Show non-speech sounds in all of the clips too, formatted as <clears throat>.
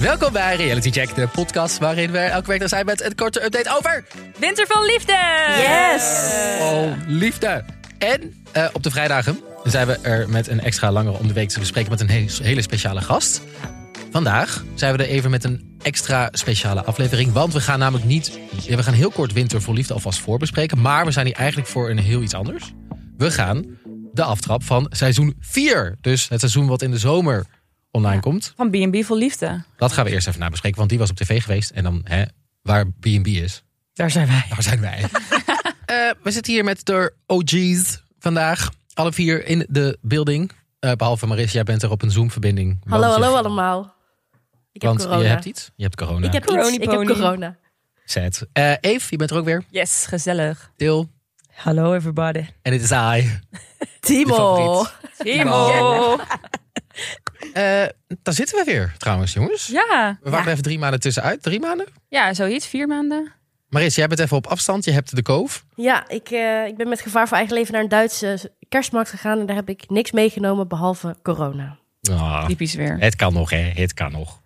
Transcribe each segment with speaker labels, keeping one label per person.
Speaker 1: Welkom bij Reality Check, de podcast waarin we elke week er zijn met een korte update over...
Speaker 2: Winter van Liefde!
Speaker 3: Yes!
Speaker 1: Oh, liefde. En eh, op de vrijdagen zijn we er met een extra langere om de week te bespreken met een he- hele speciale gast. Vandaag zijn we er even met een extra speciale aflevering. Want we gaan namelijk niet. ja, We gaan heel kort Winter voor Liefde alvast voorbespreken. Maar we zijn hier eigenlijk voor een heel iets anders. We gaan de aftrap van seizoen 4. Dus het seizoen wat in de zomer online komt.
Speaker 3: Van B&B vol liefde.
Speaker 1: Dat gaan we eerst even nabespreken. Want die was op tv geweest. En dan hè, waar BB is.
Speaker 3: Daar zijn wij.
Speaker 1: Daar zijn
Speaker 2: <laughs>
Speaker 1: wij. Eh, we zitten hier met de OG's vandaag. Alle vier in de building. Eh, behalve Maris, jij bent er op een Zoom-verbinding.
Speaker 2: Hallo,
Speaker 1: Want je-
Speaker 2: hallo allemaal. Ik heb
Speaker 1: Want
Speaker 2: corona.
Speaker 1: je hebt iets. Je hebt corona.
Speaker 2: Ik heb iets.
Speaker 3: Corony
Speaker 2: Ik heb
Speaker 3: pony.
Speaker 2: corona.
Speaker 1: Sad. Eh, Eve, je bent er ook weer.
Speaker 3: Yes, gezellig.
Speaker 1: Til.
Speaker 3: Hallo everybody.
Speaker 1: En het is I.
Speaker 2: Timo.
Speaker 1: favoriet.
Speaker 3: Timo.
Speaker 1: Eh, daar zitten we weer, trouwens, jongens.
Speaker 3: Ja.
Speaker 1: We waren even drie maanden tussenuit. Drie maanden?
Speaker 3: ja, zoiets. Vier maanden.
Speaker 1: Maris, jij bent even op afstand. Je hebt de koof.
Speaker 2: Ja, ik, eh, ik ben met gevaar voor eigen leven naar een Duitse kerstmarkt gegaan. En daar heb ik niks meegenomen behalve corona.
Speaker 1: Ah,
Speaker 3: Typisch weer.
Speaker 1: het kan nog, hè. Het kan <laughs> nog.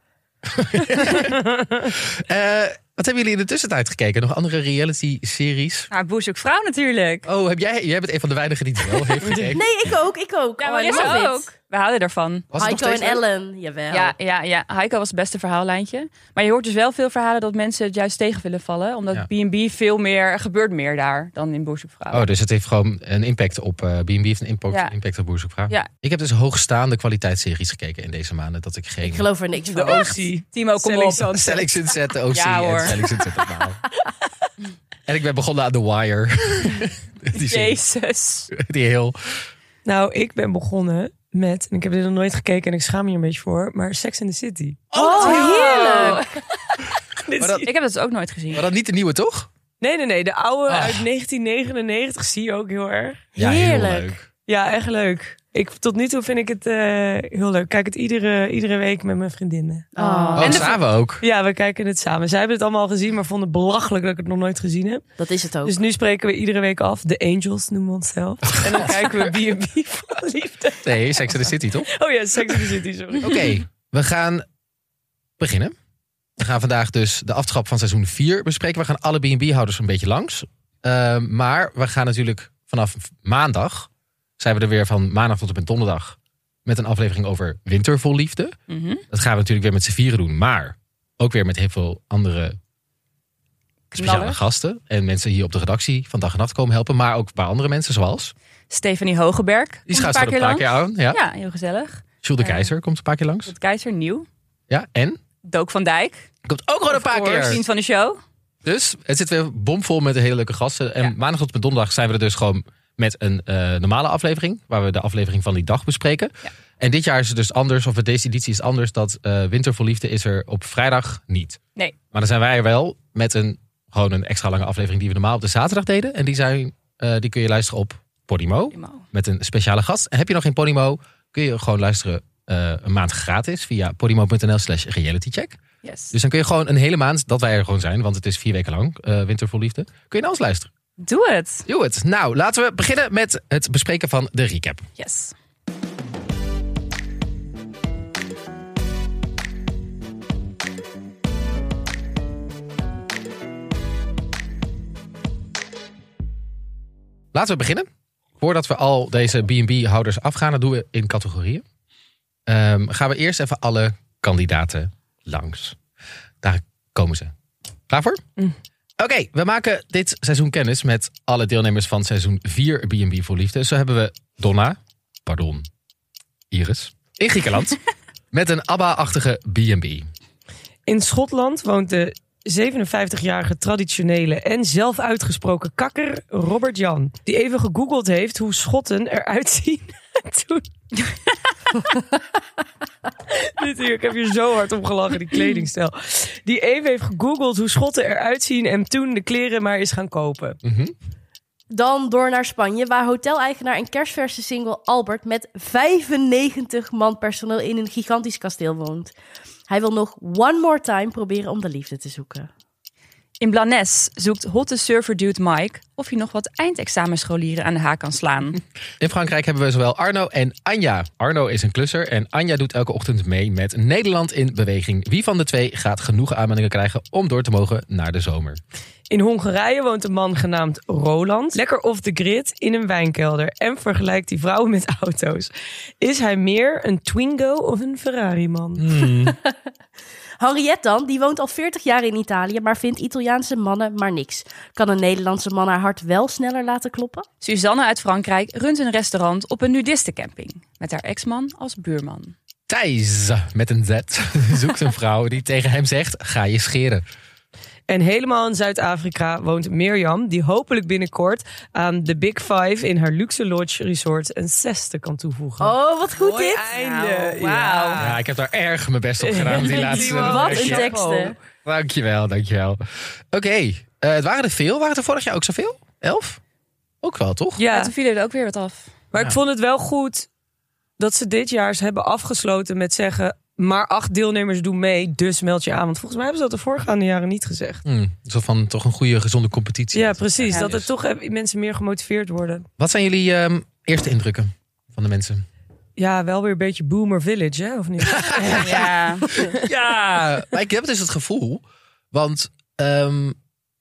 Speaker 1: Eh, wat hebben jullie in de tussentijd gekeken? Nog andere reality-series?
Speaker 3: Nou, Boezek Vrouw natuurlijk.
Speaker 1: Oh, heb jij, jij bent een van de weinigen die het wel heeft gekeken.
Speaker 2: Nee, ik ook. Ik ook.
Speaker 3: Ja,
Speaker 2: Oh,
Speaker 3: maar
Speaker 2: je mag dit.
Speaker 3: We houden ervan.
Speaker 1: Was het nog
Speaker 2: Heiko en
Speaker 1: steeds leuk?
Speaker 2: Ellen. Jawel.
Speaker 3: Ja, ja, ja, Heiko was het beste verhaallijntje. Maar je hoort dus wel veel verhalen dat mensen het juist tegen willen vallen. Omdat
Speaker 1: Ja.
Speaker 3: B&B veel meer, er gebeurt meer daar dan in Boezek Vrouw.
Speaker 1: Oh, dus het heeft gewoon een impact op eh, B&B heeft een impact,
Speaker 3: Ja.
Speaker 1: impact op boerzoekvrouw.
Speaker 3: Ja.
Speaker 1: Ik heb dus hoogstaande kwaliteitsseries gekeken in deze maanden. Dat ik geen
Speaker 2: Ik geloof er niks van.
Speaker 3: Timo, kom
Speaker 1: Selling
Speaker 3: op.
Speaker 1: Sunset. Selling Sunset, OC
Speaker 3: Ja, hoor.
Speaker 1: en Selling Sunset Opbouw. en ik ben begonnen aan The Wire. <laughs> die, serie,
Speaker 3: Jezus.
Speaker 1: die heel...
Speaker 4: Nou, ik ben begonnen met, en ik heb dit nog nooit gekeken en ik schaam me hier een beetje voor, maar Sex in the City.
Speaker 2: Oh, heerlijk.
Speaker 4: Dit
Speaker 1: Maar dat-
Speaker 4: zie-
Speaker 3: Ik heb dat dus ook nooit gezien.
Speaker 1: Maar dan niet de nieuwe, toch?
Speaker 4: Nee, nee, nee. De oude
Speaker 1: Ah.
Speaker 4: uit 1999 zie je ook heel erg.
Speaker 1: heel
Speaker 2: Heerlijk.
Speaker 1: leuk.
Speaker 4: Ja, echt leuk. Ik, tot nu toe vind ik het eh, heel leuk. Ik Kijk het iedere, iedere week met mijn vriendinnen.
Speaker 2: Oh.
Speaker 1: Oh,
Speaker 3: En de-
Speaker 1: samen ook.
Speaker 4: Ja, we kijken het samen. Zij hebben het allemaal al gezien, maar vonden het belachelijk dat ik het nog nooit gezien heb.
Speaker 2: Dat is het ook.
Speaker 4: Dus nu spreken we iedere week af. De Angels noemen we onszelf. En dan kijken we B&B van liefde.
Speaker 1: Nee, Sex and the City, toch?
Speaker 4: Oh ja, Sex in the City, sorry.
Speaker 1: <laughs> Oké, we gaan beginnen. We gaan vandaag dus de aftrap van seizoen 4 bespreken. We gaan alle B&B-houders een beetje langs. Ehm, maar we gaan natuurlijk vanaf maandag... zijn we er weer van maandag tot en met donderdag... met een aflevering over winter vol liefde.
Speaker 3: Mhm.
Speaker 1: Dat gaan we natuurlijk weer met z'n vieren doen. Maar ook weer met heel veel andere speciale
Speaker 3: Knallers.
Speaker 1: gasten. En mensen hier op de redactie van dag en nacht komen helpen. Maar ook een paar andere mensen zoals...
Speaker 3: Stefanie Hogeberg. komt
Speaker 1: Die schuift er een paar keer aan.
Speaker 3: langs.
Speaker 1: Ja.
Speaker 3: Ja, heel gezellig.
Speaker 1: Jules de
Speaker 3: Eh.
Speaker 1: Keizer komt een paar keer langs.
Speaker 3: Het Keizer, nieuw.
Speaker 1: Ja, en...
Speaker 3: Dook van Dijk.
Speaker 1: Komt ook gewoon Oh, een paar
Speaker 3: Voor
Speaker 1: keer.
Speaker 3: Vriend van de show.
Speaker 1: Dus het zit weer bomvol met de hele leuke gasten. En
Speaker 3: Ja.
Speaker 1: maandag tot en met donderdag zijn we er dus gewoon met een eh, normale aflevering. Waar we de aflevering van die dag bespreken.
Speaker 3: Ja.
Speaker 1: En dit jaar is het dus anders, of deze editie is anders. Dat eh, Winter voor Liefde is er op vrijdag niet.
Speaker 3: Nee.
Speaker 1: Maar dan zijn wij er wel met een, gewoon een extra lange aflevering die we normaal op de zaterdag deden. En die, zijn, eh, die kun je luisteren op Podimo met een speciale gast. En heb je nog geen Podimo, kun je gewoon luisteren eh, een maand gratis via podimo.nl slash realitycheck.
Speaker 3: Yes.
Speaker 1: Dus dan kun je gewoon een hele maand, dat wij er gewoon zijn, want het is vier weken lang, eh Winter vol Liefde, kun je naar ons luisteren.
Speaker 3: Doe het.
Speaker 1: Doe het. Nou, laten we beginnen met het bespreken van de recap.
Speaker 3: Yes.
Speaker 1: Laten we beginnen. Voordat we al deze B&B-houders afgaan, dat doen we in categorieën. Ehm, gaan we eerst even alle kandidaten langs. Daar komen ze. Klaar voor? Oké, we maken dit seizoen kennis met alle deelnemers van seizoen 4 B&B voor Liefde. Zo hebben we Donna, pardon, Iris, in Griekenland. met een ABBA-achtige B&B.
Speaker 4: In Schotland woont de 57-jarige traditionele en zelf uitgesproken kakker Robert Jan. Die even gegoogeld heeft hoe Schotten eruit <laughs> zien toen... <laughs> Dit hier, ik heb hier zo hard om gelachen, die kledingstijl. Die even heeft gegoogeld hoe Schotten eruit zien en toen de kleren maar is gaan kopen.
Speaker 1: Mhm.
Speaker 2: Dan door naar Spanje, waar hoteleigenaar en kerstverse single Albert met 95 man personeel in een gigantisch kasteel woont. Hij wil nog one more time proberen om de liefde te zoeken.
Speaker 3: In Blanes zoekt hotte surfer dude Mike of hij nog wat eindexamenscholieren aan de haak kan
Speaker 1: <laughs>
Speaker 3: slaan.
Speaker 1: In Frankrijk hebben we zowel Arno en Anja. Arno is een klusser en Anja doet elke ochtend mee met Nederland in beweging. Wie van de twee gaat genoeg aanmeldingen krijgen om door te mogen naar de zomer?
Speaker 4: In Hongarije woont een man genaamd Roland. Lekker off the grid in een wijnkelder. En vergelijkt die vrouwen met auto's. Is hij meer een Twingo of een Ferrari-man?
Speaker 2: Henriette dan, die woont al 40 jaar in Italië, maar vindt Italiaanse mannen maar niks. Kan een Nederlandse man haar hart wel sneller laten kloppen?
Speaker 3: Suzanne uit Frankrijk runt een restaurant op een nudistencamping. Met haar ex-man als buurman.
Speaker 1: Thijs met een Z <laughs> zoekt een vrouw die tegen hem zegt: ga je scheren.
Speaker 4: En helemaal in Zuid-Afrika woont Mirjam, die hopelijk binnenkort aan de Big Five in haar luxe lodge resort een zesde kan toevoegen.
Speaker 2: Oh, wat goed
Speaker 4: Mooi
Speaker 2: dit!
Speaker 4: einde.
Speaker 3: Nou, wauw.
Speaker 4: Ja.
Speaker 1: Ja, ik heb daar erg mijn best op gedaan met die laatste.
Speaker 4: man.
Speaker 2: Wat een
Speaker 1: weekje.
Speaker 4: Chapeau.
Speaker 2: teksten.
Speaker 1: Dankjewel, dankjewel. Oké, eh, het waren er veel. Waren er vorig jaar ook zoveel? Elf? Ook wel, toch?
Speaker 4: Ja,
Speaker 3: Ja, toen vielen er ook weer wat af.
Speaker 4: maar
Speaker 1: Ja.
Speaker 4: ik vond het wel goed dat ze dit jaar ze hebben afgesloten met zeggen... maar acht deelnemers doen mee, dus meld je aan. Want volgens mij hebben ze dat de voorgaande jaren niet gezegd.
Speaker 1: Hmm, zo van toch een goede, gezonde competitie.
Speaker 4: Ja, precies.
Speaker 3: Ja. dus.
Speaker 4: Dat er toch eh, mensen meer gemotiveerd worden.
Speaker 1: Wat zijn jullie ehm, eerste indrukken van de mensen?
Speaker 4: Ja, wel weer een beetje Boomer Village,
Speaker 1: <laughs>
Speaker 4: hè? Of niet?
Speaker 3: Ja.
Speaker 1: Ja, maar ik heb dus het gevoel. Want ehm,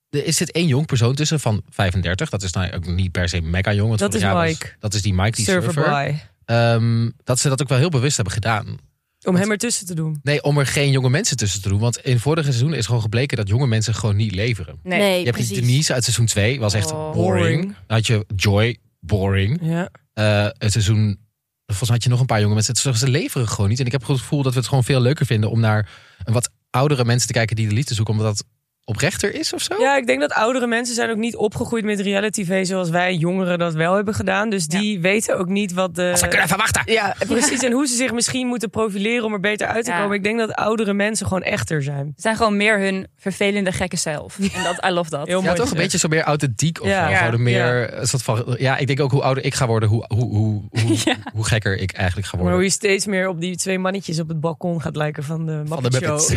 Speaker 1: er is dit één jong persoon tussen van 35. Dat is nou ook niet per se mega jong. want
Speaker 4: Dat
Speaker 1: vorig
Speaker 4: is
Speaker 1: jaar was-
Speaker 4: Mike.
Speaker 1: dat is die Mike, die surfer.
Speaker 4: Surferboy.
Speaker 1: Ehm, dat ze dat ook wel heel bewust hebben gedaan.
Speaker 4: Om hem ertussen te doen.
Speaker 1: Nee, om er geen jonge mensen tussen te doen. Want in vorige seizoen is gewoon gebleken dat jonge mensen gewoon niet leveren.
Speaker 3: Nee.
Speaker 2: Nee,
Speaker 1: je hebt die Denise uit seizoen 2, was echt
Speaker 3: Oh.
Speaker 1: boring. Dan had je Joy, boring.
Speaker 4: Ja.
Speaker 1: Eh, het seizoen, volgens mij had je nog een paar jonge mensen. Het- Ze leveren gewoon niet. En ik heb het gevoel dat we het gewoon veel leuker vinden om naar een wat oudere mensen te kijken die de liefde zoeken. Omdat dat oprechter is of zo.
Speaker 4: ja, ik denk dat oudere mensen zijn ook niet opgegroeid met reality tv zoals wij jongeren dat wel hebben gedaan. Dus die weten ook niet wat de...
Speaker 1: Ze kunnen verwachten.
Speaker 4: Ja, precies. En hoe ze zich misschien moeten profileren om er beter uit te
Speaker 3: Ja.
Speaker 4: komen. Ik denk dat oudere mensen gewoon echter zijn.
Speaker 3: Het zijn gewoon meer hun vervelende gekke zelf. En dat, I love dat.
Speaker 4: Heel
Speaker 1: Ja,
Speaker 4: mooi
Speaker 1: toch een
Speaker 4: gezegd.
Speaker 1: beetje zo meer authentiek of
Speaker 4: Ja.
Speaker 1: zo.
Speaker 3: Ja.
Speaker 1: Gewoon meer een soort van, ja, ik denk ook hoe ouder ik ga worden, hoe, hoe, hoe,
Speaker 4: <laughs>
Speaker 1: hoe,
Speaker 3: Ja.
Speaker 1: hoe gekker ik eigenlijk ga
Speaker 4: Maar
Speaker 1: worden.
Speaker 4: hoe je steeds meer op die twee mannetjes op het balkon gaat lijken van de Muppet,
Speaker 1: Van de Muppets.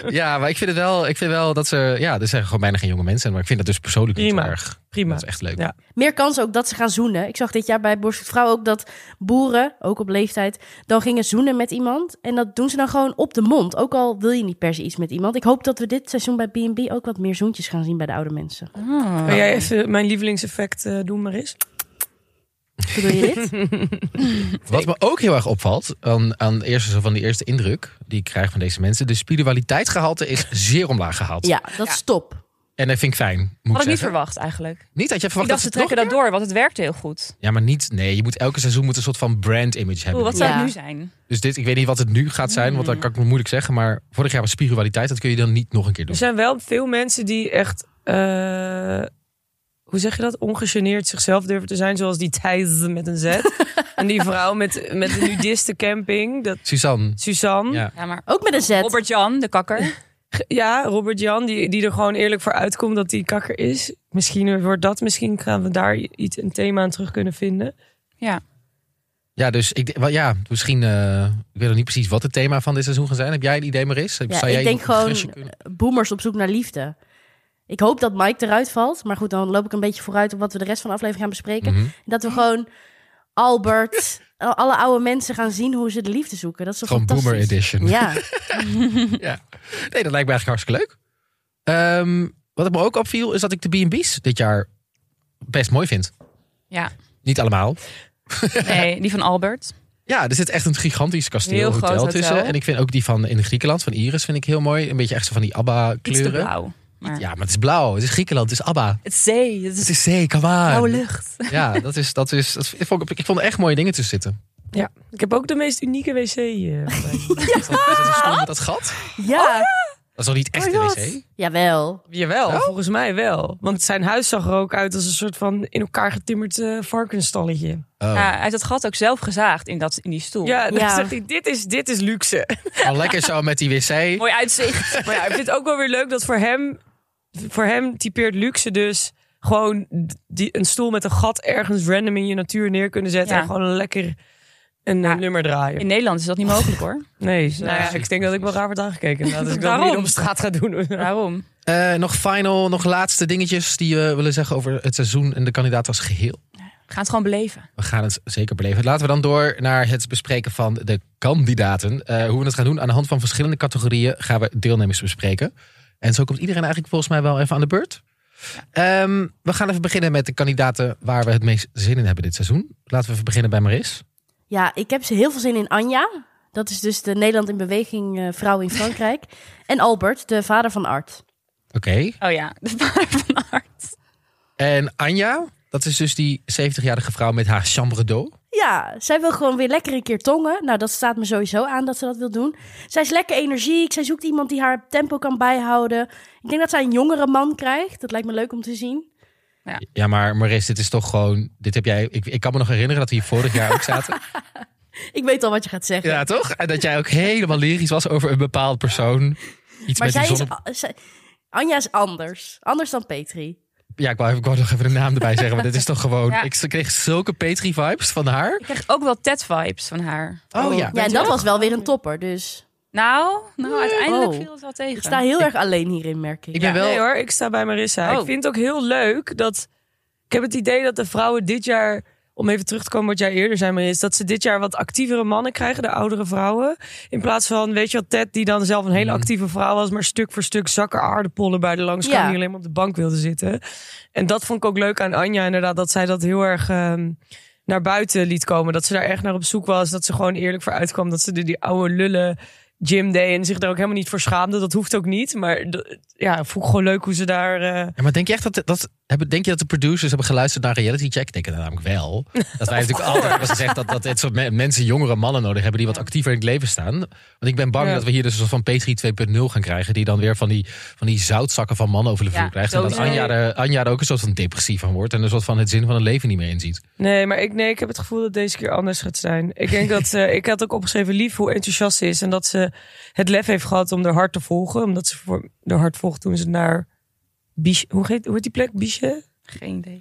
Speaker 4: Show.
Speaker 1: <laughs> ja, maar ik vind het wel, ik vind wel dat ze, ja, er zijn gewoon bijna geen jonge mensen. Maar ik vind dat dus persoonlijk niet
Speaker 4: Prima.
Speaker 1: erg.
Speaker 4: Prima.
Speaker 1: Dat is echt leuk.
Speaker 4: Ja.
Speaker 2: Meer kans ook dat ze gaan zoenen. Ik zag dit jaar bij Borst Vrouw ook dat boeren, ook op leeftijd, dan gingen zoenen met iemand. En dat doen ze dan gewoon op de mond. Ook al wil je niet per se iets met iemand. Ik hoop dat we dit seizoen bij B&B ook wat meer zoentjes gaan zien bij de oude mensen.
Speaker 3: Ah.
Speaker 4: <laughs> Wil jij even mijn lievelingseffect eh, doen maar eens?
Speaker 2: Bedoel je dit?
Speaker 1: Wat me ook heel erg opvalt aan, aan het eerste, zo van die eerste indruk die ik krijg van deze mensen, de spiritualiteitsgehalte is zeer omlaag gehaald.
Speaker 2: Ja, dat
Speaker 3: Ja.
Speaker 2: is top.
Speaker 1: En dat vind ik fijn. Moet
Speaker 3: Had ik niet
Speaker 1: zeggen.
Speaker 3: verwacht eigenlijk.
Speaker 1: Niet dat je
Speaker 3: Ik
Speaker 1: verwacht
Speaker 3: dacht, ze
Speaker 1: dat
Speaker 3: trekken
Speaker 1: nog-
Speaker 3: dat door, want het werkte heel goed.
Speaker 1: Ja, maar niet. Nee, je moet elke seizoen moet een soort van brand image hebben.
Speaker 3: Oeh, wat Mm. zou
Speaker 2: Ja.
Speaker 3: het nu zijn?
Speaker 1: Dus dit, ik weet niet wat het nu gaat zijn, want dat kan ik me moeilijk zeggen. Maar vorig jaar was spiritualiteit, dat kun je dan niet nog een keer
Speaker 4: Er
Speaker 3: Dus-
Speaker 1: doen.
Speaker 4: zijn wel veel mensen die echt, eh, hoe zeg je dat, ongegeneerd zichzelf durven te zijn. Zoals die Thijs met een
Speaker 1: <laughs>
Speaker 4: Z. en die vrouw met, met de nudistencamping. Dat,
Speaker 1: Suzanne.
Speaker 4: Suzanne. Ja,
Speaker 1: Ja.
Speaker 3: Ja, maar
Speaker 2: Ook met een Z.
Speaker 3: Robert-Jan, de kakker.
Speaker 4: Robert-Jan, die, die er gewoon eerlijk voor uitkomt dat die kakker is. Misschien wordt dat, misschien gaan we daar iets, een thema aan terug kunnen vinden.
Speaker 3: Ja.
Speaker 1: ja, dus ik, d- wel, ja, misschien. eh, ik weet nog niet precies wat het thema van dit seizoen gaat zijn. Heb jij een idee, Maris? Zou
Speaker 2: Ja,
Speaker 1: jij
Speaker 2: ik denk
Speaker 1: een suggestie
Speaker 2: gewoon-
Speaker 1: kunnen-
Speaker 2: Boomers op zoek naar liefde. Ik hoop dat Mike eruit valt. Maar goed, dan loop ik een beetje vooruit op wat we de rest van de aflevering gaan bespreken.
Speaker 1: Mhm.
Speaker 2: Dat we gewoon Albert, alle oude mensen gaan zien hoe ze de liefde zoeken. Dat is toch
Speaker 1: Gewoon
Speaker 2: fantastisch.
Speaker 1: Boomer Edition.
Speaker 2: Ja.
Speaker 1: <laughs> Nee, dat lijkt me eigenlijk hartstikke leuk. Ehm, wat het me ook opviel, is dat ik de B&B's dit jaar best mooi vind.
Speaker 3: Ja.
Speaker 1: Niet allemaal.
Speaker 3: Nee, die van Albert.
Speaker 1: Ja, er zit echt een gigantisch kasteel
Speaker 3: Heel
Speaker 1: hotel,
Speaker 3: groot hotel.
Speaker 1: tussen. En ik vind ook die van in Griekenland, van Iris, vind ik heel mooi. Een beetje echt zo van die
Speaker 3: Iets te
Speaker 1: ABBA-kleuren.
Speaker 3: blauw. Maar...
Speaker 1: Ja, maar het is blauw. Het is Griekenland. Het is ABBA.
Speaker 3: Het zee, het
Speaker 1: Het
Speaker 3: is
Speaker 1: is zee, come on.
Speaker 3: blauwe lucht.
Speaker 1: Ja, dat is, dat is, dat, ik, vond, ik vond er echt mooie dingen tussen zitten.
Speaker 4: Ik heb ook de meest unieke wc. eh, bij
Speaker 3: <laughs>
Speaker 4: me.
Speaker 1: Is Dus dat, is dat een stoel met dat gat?
Speaker 2: Ja.
Speaker 1: Dat is nog niet echt
Speaker 4: Oh
Speaker 1: de
Speaker 4: my
Speaker 1: wc?
Speaker 2: Jawel.
Speaker 4: Jawel, Oh? volgens mij wel. Want zijn huis zag er ook uit als een soort van in elkaar getimmerd eh, varkensstalletje.
Speaker 1: Oh.
Speaker 3: Ja, hij heeft dat gat ook zelf gezaagd in, dat, in die stoel.
Speaker 4: Ja, dan
Speaker 2: Ja.
Speaker 4: <laughs> zegt hij, dit is, dit is luxe. <laughs>
Speaker 1: Al lekker zo met die
Speaker 3: <laughs>
Speaker 1: wc.
Speaker 3: Mooi uitzicht.
Speaker 4: Maar ja, ik vind het ook wel weer leuk dat voor hem, voor hem typeert luxe dus gewoon die, een stoel met een gat ergens random in je natuur neer kunnen zetten.
Speaker 3: Ja.
Speaker 4: En gewoon een lekker een eh,
Speaker 3: Ja.
Speaker 4: nummer draaien.
Speaker 3: In Nederland is dat niet mogelijk hoor.
Speaker 4: Nee, nou ja,
Speaker 1: precies.
Speaker 4: ik denk dat ik wel raar word aangekeken. inderdaad, Als ik dat
Speaker 3: Waarom?
Speaker 4: niet op straat ga doen. <laughs>
Speaker 3: Waarom?
Speaker 1: Eh, nog final, nog laatste dingetjes die we willen zeggen over het seizoen en de kandidaat als geheel.
Speaker 3: We gaan het gewoon beleven.
Speaker 1: We gaan het zeker beleven. Laten we dan door naar het bespreken van de kandidaten. Eh, hoe we het gaan doen, aan de hand van verschillende categorieën gaan we deelnemers bespreken. En zo komt iedereen eigenlijk volgens mij wel even aan de beurt. Ehm, we gaan even beginnen met de kandidaten waar we het meest zin in hebben dit seizoen. Laten we even beginnen bij Maris.
Speaker 2: Ja, ik heb ze heel veel zin in Anja. Dat is dus de Nederland in Beweging eh, vrouw in <laughs> Frankrijk. en Albert, de vader van Art.
Speaker 1: Oké.
Speaker 3: Oh ja, <laughs> de vader van Art.
Speaker 1: En Anja, dat is dus die 70-jarige vrouw met haar chambre d'eau.
Speaker 2: Ja, zij wil gewoon weer lekker een keer tongen. Nou, dat staat me sowieso aan dat ze dat wil doen. Zij is lekker energiek. Zij zoekt iemand die haar tempo kan bijhouden. Ik denk dat zij een jongere man krijgt. Dat lijkt me leuk om te zien.
Speaker 1: Ja, maar Maris, dit is toch gewoon... Dit heb jij, ik, ik kan me nog herinneren dat we hier vorig jaar ook zaten.
Speaker 2: Ik weet al wat je gaat zeggen.
Speaker 1: Ja, toch? En dat jij ook helemaal lyrisch was over een bepaald persoon. Iets
Speaker 2: maar
Speaker 1: met
Speaker 2: zij
Speaker 1: die
Speaker 2: is,
Speaker 1: zonne...
Speaker 2: a- zij- Anja is anders. Anders dan Petri.
Speaker 1: Ja, ik wou, even- ik wou nog even de naam erbij zeggen, maar dit is toch gewoon...
Speaker 3: Ja.
Speaker 1: Ik kreeg zulke Petri-vibes van haar.
Speaker 3: Ik kreeg ook wel Ted-vibes van haar.
Speaker 1: Oh ja.
Speaker 2: Ja, en dat was wel weer een topper. Dus
Speaker 3: Nou, nou uiteindelijk
Speaker 2: Oh.
Speaker 3: viel het wel tegen.
Speaker 2: ik sta heel erg alleen hierin, merk ik.
Speaker 1: Ik ben wel...
Speaker 4: Nee hoor, ik sta bij Marissa.
Speaker 3: Oh.
Speaker 4: Ik vind het ook heel leuk dat... Ik heb het idee dat de vrouwen dit jaar... Om even terug te komen wat jij eerder zei, Maris... dat ze dit jaar wat actievere mannen krijgen, de oudere vrouwen. In plaats van, weet je wat, Ted, die dan zelf een hele actieve vrouw was... maar stuk voor stuk zakken aardappelen bij de langs
Speaker 2: Ja.
Speaker 4: die alleen maar op de bank wilde zitten. En dat vond ik ook leuk aan Anja, inderdaad. Dat zij dat heel erg ehm, naar buiten liet komen. Dat ze daar echt naar op zoek was. Dat ze gewoon eerlijk voor uitkwam. Dat ze de, die oude lullen gym deed. En zich daar ook helemaal niet voor schaamde. Dat hoeft ook niet. Maar d- ja, vond ik gewoon leuk hoe ze daar... eh,
Speaker 1: Ja, maar denk je echt dat, dat, hebben, denk je dat de producers hebben geluisterd naar Reality Check? Ik denk het namelijk
Speaker 2: <laughs>
Speaker 1: wel. Dat wij natuurlijk altijd hebben gezegd dat, dat dit soort me- mensen jongere mannen nodig hebben die wat actiever in het leven staan. Want ik ben bang
Speaker 4: Ja.
Speaker 1: dat we hier dus een soort van Petri 2.0 gaan krijgen. Die dan weer van die, van die zoutzakken van mannen over de
Speaker 3: Ja,
Speaker 1: vloer krijgt. En dat
Speaker 3: sowieso.
Speaker 1: Anja er, Anja er ook een soort van depressief van wordt. En een soort van het zin van het leven niet meer inziet.
Speaker 4: Nee, maar ik, nee, ik heb het gevoel dat deze keer anders gaat zijn. Ik denk dat ze, ik had ook opgeschreven lief hoe enthousiast ze is. En dat ze het lef heeft gehad om haar hart te volgen. Omdat ze voor haar hart volgt toen ze naar Biche, hoe, heet, hoe heet die plek? Biche?
Speaker 3: Geen idee.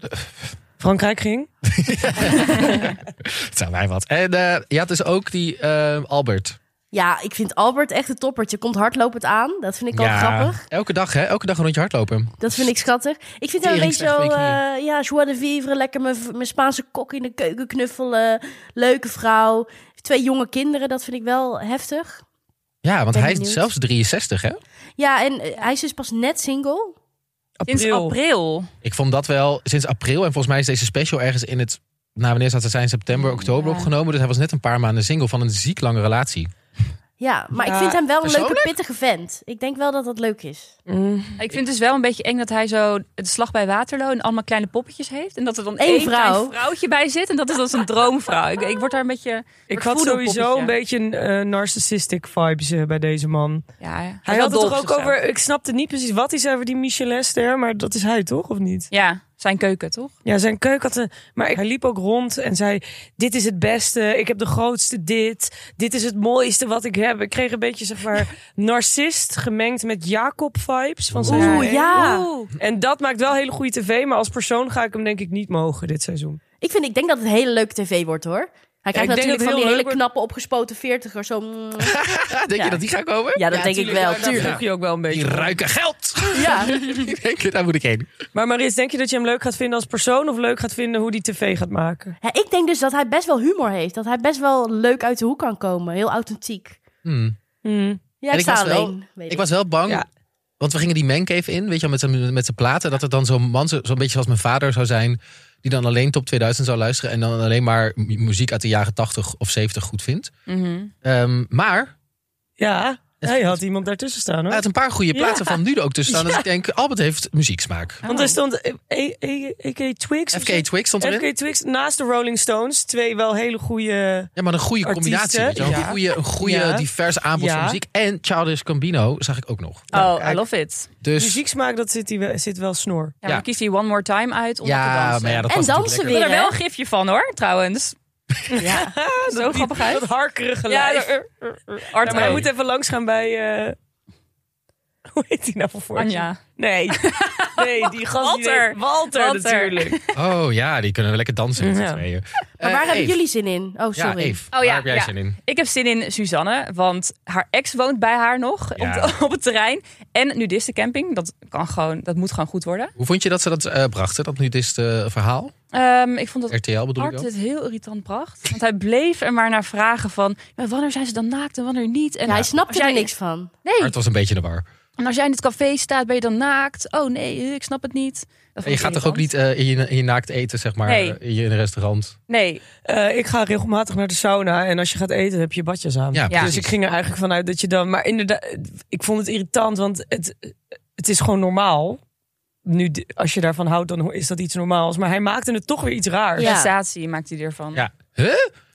Speaker 4: Frankrijk ging.
Speaker 1: Het zijn wij wat. En eh, je had dus ook die eh, Albert.
Speaker 2: Ja, ik vind Albert echt een toppertje. Komt hardlopend aan. Dat vind ik al grappig.
Speaker 1: Elke dag, hè? Elke dag een rondje hardlopen.
Speaker 2: Dat vind ik schattig. Ik vind hem een
Speaker 1: Tering
Speaker 2: beetje zo...
Speaker 1: slecht voor je
Speaker 2: eh, ja, joie de vivre. Lekker mijn mijn Spaanse kok in de keuken knuffelen. Leuke vrouw. Twee jonge kinderen. Dat vind ik wel heftig.
Speaker 1: Ja, want
Speaker 2: Ben
Speaker 1: hij is
Speaker 2: benieuwd.
Speaker 1: zelfs 63, hè?
Speaker 2: Ja, en eh, hij is dus pas net single.
Speaker 3: Sinds
Speaker 4: April.
Speaker 3: april.
Speaker 1: Ik vond dat wel sinds april. En volgens mij is deze special ergens in het... Nou, wanneer zou het zijn? September, oktober
Speaker 3: Ja.
Speaker 1: opgenomen. Dus hij was net een paar maanden single van een ziek lange relatie.
Speaker 2: Ja, maar
Speaker 4: Ja,
Speaker 2: ik vind hem wel een leuke,
Speaker 1: persoonlijk?
Speaker 2: pittige vent. Ik denk wel dat dat leuk is.
Speaker 4: Mm.
Speaker 3: Ik vind het dus wel een beetje eng dat hij zo de slag bij Waterloo en allemaal kleine poppetjes heeft. En dat er dan
Speaker 2: Eén
Speaker 3: één
Speaker 2: vrouw.
Speaker 3: klein vrouwtje bij zit. En dat is dan zijn droomvrouw. Ik, ik word daar een beetje...
Speaker 4: Ik
Speaker 3: Wordt
Speaker 4: had
Speaker 3: voedelpoppetje.
Speaker 4: sowieso een beetje een eh, narcissistic vibes eh, bij deze man.
Speaker 3: Ja,
Speaker 4: Hij
Speaker 3: wel
Speaker 4: had het
Speaker 3: dol op
Speaker 4: toch ook
Speaker 3: zichzelf.
Speaker 4: over... Ik snapte niet precies wat hij zei over die Michelinster. Maar dat is hij toch, of niet?
Speaker 3: Ja, zijn keuken toch?
Speaker 4: Ja, zijn keuken had een... Maar hij liep ook rond en zei... Dit is het beste, ik heb de grootste dit. Dit is het mooiste wat ik heb. Ik kreeg een beetje,
Speaker 2: <laughs>
Speaker 4: zeg maar, narcist gemengd met Jacob-vibes van zijn
Speaker 2: Oeh,
Speaker 4: eigen.
Speaker 2: ja.
Speaker 3: Oeh. Oh,
Speaker 4: En dat maakt wel hele goede tv. Maar als persoon ga ik hem denk ik niet mogen dit seizoen.
Speaker 2: Ik, vind, ik denk dat het hele leuke tv wordt, hoor. Hij
Speaker 4: denk
Speaker 2: krijgt
Speaker 4: dat het
Speaker 2: natuurlijk van
Speaker 4: heel
Speaker 2: die hele
Speaker 4: leuk wordt.
Speaker 2: knappe, opgespoten veertiger. Zo... mm.
Speaker 1: Ah, Denk je dat die gaat komen?
Speaker 2: Ja, dat denk ik wel,
Speaker 4: Daar vroeg
Speaker 2: tuurlijk.
Speaker 4: je ook wel een
Speaker 1: Die
Speaker 4: beetje.
Speaker 1: ruiken geld!
Speaker 2: Ja.
Speaker 1: ik denk, daar moet ik heen.
Speaker 4: Maar Maris, denk je dat je hem leuk gaat vinden als persoon... of leuk gaat vinden hoe die tv gaat maken?
Speaker 2: Ja, ik denk dus dat hij best wel humor heeft. Dat hij best wel leuk uit de hoek kan komen. Heel authentiek.
Speaker 1: Hmm.
Speaker 2: Ja,
Speaker 1: En
Speaker 2: ik,
Speaker 1: ik
Speaker 2: sta
Speaker 1: was wel-
Speaker 2: alleen. weet
Speaker 1: Ik was wel bang...
Speaker 4: Ja.
Speaker 1: Want we gingen die mancave in, weet je wel, met zijn, met zijn platen. Dat het dan zo'n man, zo- zo'n beetje zoals mijn vader zou zijn... die dan alleen top 2000 zou luisteren... en dan alleen maar mu- muziek uit de jaren 80 of 70 goed vindt.
Speaker 3: Mhm.
Speaker 1: Ehm, maar
Speaker 4: Ja, hij had iemand daartussen staan
Speaker 1: Hij
Speaker 4: hoor.
Speaker 1: had een paar goede platen van nu er ook tussen staan. Dat ik denk, Albert heeft muzieksmaak.
Speaker 4: Want er stond eh, E- E- E.K. Twigs. of
Speaker 1: FK
Speaker 4: zo.
Speaker 1: Twix stond erin.
Speaker 4: FK Twix naast de Rolling Stones. Twee wel hele goede.
Speaker 1: Ja, maar een goede
Speaker 4: Artiesten,
Speaker 1: combinatie. Weet je wel. Een
Speaker 4: ja.
Speaker 1: goede, een goede
Speaker 4: Ja.
Speaker 1: divers aanbod van
Speaker 4: Ja.
Speaker 1: muziek. En Childish Gambino zag ik ook nog. Nou,
Speaker 3: Oh, I love it.
Speaker 1: Dus
Speaker 4: Muzieksmaak, dat zit, die, wel- zit wel snor.
Speaker 3: Ja,
Speaker 1: Ja.
Speaker 3: maar dan kiest hij One More Time uit om te
Speaker 1: ja,
Speaker 3: dansen.
Speaker 1: maar ja, dat
Speaker 2: En
Speaker 1: was natuurlijk
Speaker 2: dansen
Speaker 1: lekker.
Speaker 3: Ik wil er
Speaker 2: Weer,
Speaker 3: wel
Speaker 2: hè?
Speaker 3: een gifje van hoor,
Speaker 4: <laughs>
Speaker 3: trouwens.
Speaker 2: Ja.
Speaker 3: <laughs> Zo grappig uit.
Speaker 4: Dat harkerige
Speaker 3: Ja,
Speaker 4: lijf.
Speaker 3: er-
Speaker 4: Ja,
Speaker 3: Art
Speaker 4: maar je
Speaker 3: ook.
Speaker 4: moet eh, <laughs> even langs gaan bij. eh, Hoe heet die nou voor?
Speaker 3: <laughs> Anja.
Speaker 4: Nee. Nee, die gast die
Speaker 3: Walter.
Speaker 4: weet- Walter,
Speaker 3: Walter.
Speaker 4: natuurlijk.
Speaker 1: Oh ja, die kunnen lekker dansen met z'n
Speaker 4: Ja.
Speaker 1: tweeën.
Speaker 2: Maar
Speaker 1: Eh,
Speaker 2: waar hebben
Speaker 1: Eve.
Speaker 2: jullie zin in? Oh,
Speaker 1: Ja,
Speaker 2: sorry.
Speaker 1: Eve,
Speaker 3: Oh
Speaker 1: waar
Speaker 3: ja,
Speaker 1: heb jij
Speaker 3: ja.
Speaker 1: zin in?
Speaker 3: Ik heb zin in Suzanne, want haar ex woont bij haar nog
Speaker 1: Ja.
Speaker 3: op, de- <laughs> op het terrein. En nudistencamping, dat, kan gewoon, dat moet gewoon goed worden.
Speaker 1: Hoe vond je dat ze dat eh, brachten, dat nudiste verhaal?
Speaker 3: Ehm, ik vond dat
Speaker 1: RTL bedoel ik
Speaker 3: Art
Speaker 1: dan?
Speaker 3: het heel irritant bracht. Want hij bleef er maar naar vragen van... "Ja, wanneer zijn ze dan naakt en wanneer niet? En
Speaker 2: Ja, hij
Speaker 3: Als
Speaker 2: snapte
Speaker 3: jij-
Speaker 2: er niks van.
Speaker 3: Nee,
Speaker 1: Art was een beetje in de war.
Speaker 3: en als jij in het café staat, ben je dan naakt? Oh nee, ik snap het niet. Dat vond
Speaker 1: En je
Speaker 3: ik
Speaker 1: gaat toch ook niet
Speaker 3: irritant.
Speaker 1: eh, in, je, in je naakt eten, zeg maar,
Speaker 3: Nee.
Speaker 1: eh, in je- in een restaurant?
Speaker 3: Nee,
Speaker 4: Eh, ik ga regelmatig naar de sauna. En als je gaat eten, heb je badjes aan.
Speaker 1: Ja,
Speaker 3: Ja.
Speaker 4: Dus ik ging er eigenlijk vanuit dat je dan... Maar inderdaad, ik vond het irritant, want het, het is gewoon normaal. Nu, als je daarvan houdt, dan is dat iets normaals. Maar hij maakte het toch weer iets raars.
Speaker 2: Ja.
Speaker 3: sensatie maakt hij ervan.
Speaker 1: Ja. Huh?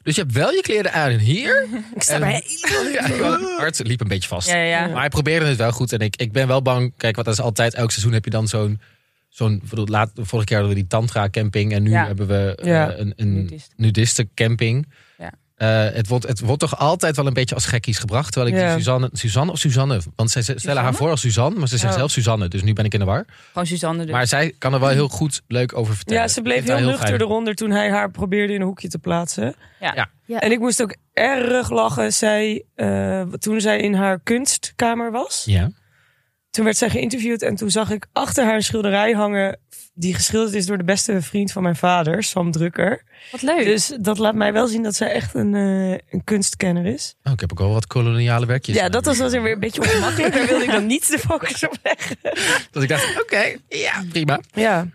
Speaker 1: Dus je hebt wel je kleren aan en
Speaker 2: <laughs>
Speaker 1: hier?
Speaker 4: Ik sta
Speaker 1: En-
Speaker 4: bij-
Speaker 1: <laughs> Ja, Art liep een beetje vast.
Speaker 3: ja, ja.
Speaker 1: Maar hij probeerde het wel goed. En ik, ik ben wel bang. Kijk, want dat is altijd, elk seizoen heb je dan zo'n. zo'n ik bedoel, laat, vorige keer hadden we die Tantra camping. En nu
Speaker 3: Ja.
Speaker 1: hebben we eh,
Speaker 4: Ja.
Speaker 1: een, een
Speaker 3: Nudist.
Speaker 1: nudiste camping.
Speaker 3: Ja.
Speaker 1: Eh, het, wordt, het wordt toch altijd wel een beetje als gekkies gebracht. Terwijl ik die
Speaker 4: Ja.
Speaker 1: Suzanne, Suzanne of Suzanne. Want zij stellen haar
Speaker 3: Suzanne?
Speaker 1: voor als Suzanne, maar ze zegt
Speaker 4: Oh.
Speaker 1: zelf Suzanne. Dus nu ben ik in de war.
Speaker 3: Gewoon Suzanne dus.
Speaker 1: Maar zij kan er wel heel goed leuk over vertellen.
Speaker 4: Ja, ze bleef
Speaker 1: Vindt haar
Speaker 4: heel nuchter
Speaker 1: fijn.
Speaker 4: eronder toen hij haar probeerde in een hoekje te plaatsen.
Speaker 3: Ja.
Speaker 1: Ja.
Speaker 2: Ja.
Speaker 4: En ik moest ook erg lachen. Zij, eh, toen zij in haar kunstkamer was,
Speaker 1: Ja.
Speaker 4: toen werd zij geïnterviewd. En toen zag ik achter haar een schilderij hangen die geschilderd is door de beste vriend van mijn vader, Sam Drukker.
Speaker 3: Wat leuk.
Speaker 4: Dus dat laat mij wel zien dat zij echt een, eh, een kunstkenner is.
Speaker 1: Oh, ik heb ook wel wat koloniale werkjes.
Speaker 4: ja, dat was wel weer een beetje ongemakkelijk. Daar wilde ik dan niet de focus op leggen.
Speaker 1: Dat ik dacht, oké, ja, prima.
Speaker 4: Ja,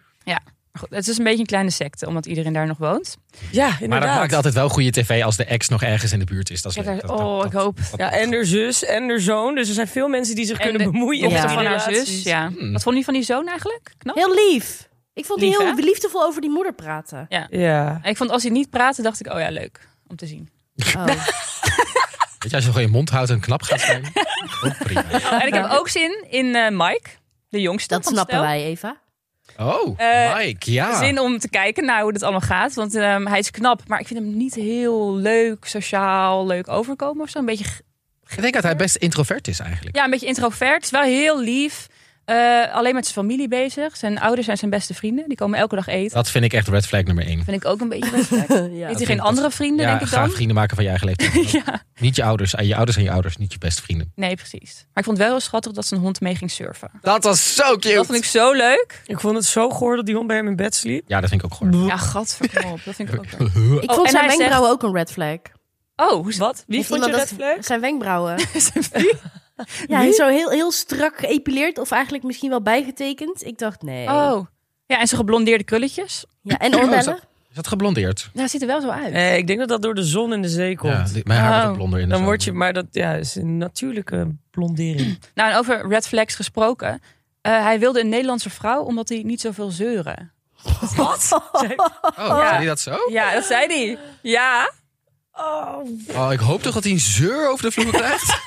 Speaker 3: Goed, het is een beetje een kleine secte, omdat iedereen daar nog woont.
Speaker 4: ja
Speaker 1: Maar dat
Speaker 4: inderdaad.
Speaker 1: maakt altijd wel goede tv als de ex nog ergens in de buurt is. Dat is
Speaker 3: Ik heb
Speaker 1: leuk.
Speaker 3: daar-
Speaker 1: Dat- dat-
Speaker 3: oh,
Speaker 1: dat-
Speaker 3: ik hoop.
Speaker 4: Ja, en haar zus en haar zoon. Dus er zijn veel mensen die zich
Speaker 3: En
Speaker 4: kunnen
Speaker 3: de
Speaker 4: bemoeien.
Speaker 3: Dochter
Speaker 4: met
Speaker 2: Ja.
Speaker 4: die
Speaker 3: van haar
Speaker 4: relaties.
Speaker 3: zus, ja.
Speaker 1: Hmm.
Speaker 3: Wat vond je van die zoon eigenlijk? Knap?
Speaker 2: Heel lief. Ik vond die
Speaker 4: Lief,
Speaker 2: heel
Speaker 4: hè?
Speaker 2: liefdevol over die moeder praten.
Speaker 4: Ja.
Speaker 3: En ik vond als hij niet praatte, dacht ik, oh ja, leuk om te zien. <laughs>
Speaker 2: Oh.
Speaker 1: Weet je, als je gewoon je mond houdt en knap gaat zijn. ook prima.
Speaker 3: En ik heb ook zin in eh, Mike, de jongste.
Speaker 2: Dat
Speaker 3: van het
Speaker 2: snappen
Speaker 3: stel.
Speaker 2: wij,
Speaker 3: <laughs>
Speaker 2: Eva.
Speaker 1: Oh,
Speaker 3: Eh,
Speaker 1: Mike, ja.
Speaker 3: Zin om te kijken naar hoe dit allemaal gaat. Want ehm, hij is knap, maar ik vind hem niet heel leuk, sociaal, leuk overkomen of zo. Een beetje, g-
Speaker 1: Ik denk dat hij best introvert is eigenlijk.
Speaker 3: ja, een beetje introvert. Is wel heel lief. Eh, alleen met zijn familie bezig. Zijn ouders zijn zijn beste vrienden. Die komen elke dag eten.
Speaker 1: Dat vind ik echt red flag nummer één.
Speaker 3: Vind ik ook een <laughs> beetje respect.
Speaker 2: ja.
Speaker 3: Heeft
Speaker 1: vind
Speaker 3: hij geen
Speaker 1: ik
Speaker 3: andere vrienden,
Speaker 1: Ja,
Speaker 3: denk ik
Speaker 1: ga
Speaker 3: dan?
Speaker 1: vrienden maken van je eigen leeftijd.
Speaker 3: <laughs> ja,
Speaker 1: Niet je ouders. En Je ouders zijn je ouders, niet je beste vrienden.
Speaker 3: nee, precies. Maar ik vond het wel heel schattig dat zijn hond mee ging surfen.
Speaker 1: Dat was zo cute.
Speaker 3: Dat vond ik zo leuk.
Speaker 4: Ik vond het zo goor dat die hond bij hem in bed sliep.
Speaker 1: Ja, dat vind ik ook gewoon.
Speaker 3: Ja, gadverknop. Dat vind ik ook leuk.
Speaker 2: Ik
Speaker 3: Oh,
Speaker 2: vond
Speaker 3: en
Speaker 2: zijn
Speaker 3: hij zegt-
Speaker 2: wenkbrauwen ook een red flag.
Speaker 3: <laughs> Oh, hoe wat?
Speaker 4: Wie
Speaker 2: Heeft
Speaker 4: vond je
Speaker 2: iemand
Speaker 4: red
Speaker 2: dat-
Speaker 4: flag?
Speaker 2: Zijn
Speaker 3: <laughs>
Speaker 2: wenkbrauwen.
Speaker 3: Wie?
Speaker 2: Ja, hij is zo heel, heel strak geëpileerd of eigenlijk misschien wel bijgetekend. Ik dacht, nee.
Speaker 3: Oh. Ja, en zijn geblondeerde krulletjes.
Speaker 2: Ja, en oorbellen.
Speaker 3: <laughs>
Speaker 1: Is dat geblondeerd?
Speaker 3: Ja, ziet er wel zo uit.
Speaker 4: Eh, ik denk dat dat door de zon en de zee komt.
Speaker 1: Ja, die- mijn haar wordt
Speaker 3: Oh.
Speaker 1: ook blonder in de
Speaker 4: dan
Speaker 1: zomer.
Speaker 4: word je, maar dat ja, is een natuurlijke blondering. <clears throat>
Speaker 3: Nou, en over red flags gesproken. Eh, hij wilde een Nederlandse vrouw omdat hij niet zoveel zeuren.
Speaker 1: Oh, zei hij dat zo?
Speaker 3: Ja, dat zei hij. Ja.
Speaker 1: Oh, ik hoop toch dat hij een zeur over de vloer krijgt?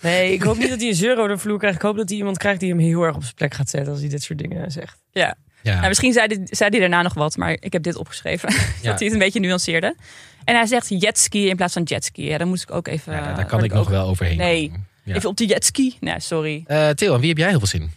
Speaker 4: Nee, ik hoop niet dat hij een zeur over de vloer krijgt. Ik hoop dat hij iemand krijgt die hem heel erg op zijn plek gaat zetten als hij dit soort dingen zegt.
Speaker 3: ja. Nou,
Speaker 1: Ja.
Speaker 3: misschien zei hij, zei hij daarna nog wat, maar ik heb dit opgeschreven. <laughs>
Speaker 1: Ja.
Speaker 3: dat hij het een beetje nuanceerde. En hij zegt jetski in plaats van jetski. Ja, dan moest ik ook even...
Speaker 1: Ja, daar- daar
Speaker 3: word
Speaker 1: kan ik nog
Speaker 3: ook
Speaker 1: wel overheen.
Speaker 3: Nee.
Speaker 1: komen. Ja.
Speaker 3: Even op die jetski. Nee, sorry.
Speaker 1: Eh, Theo, aan wie heb jij heel veel zin? in?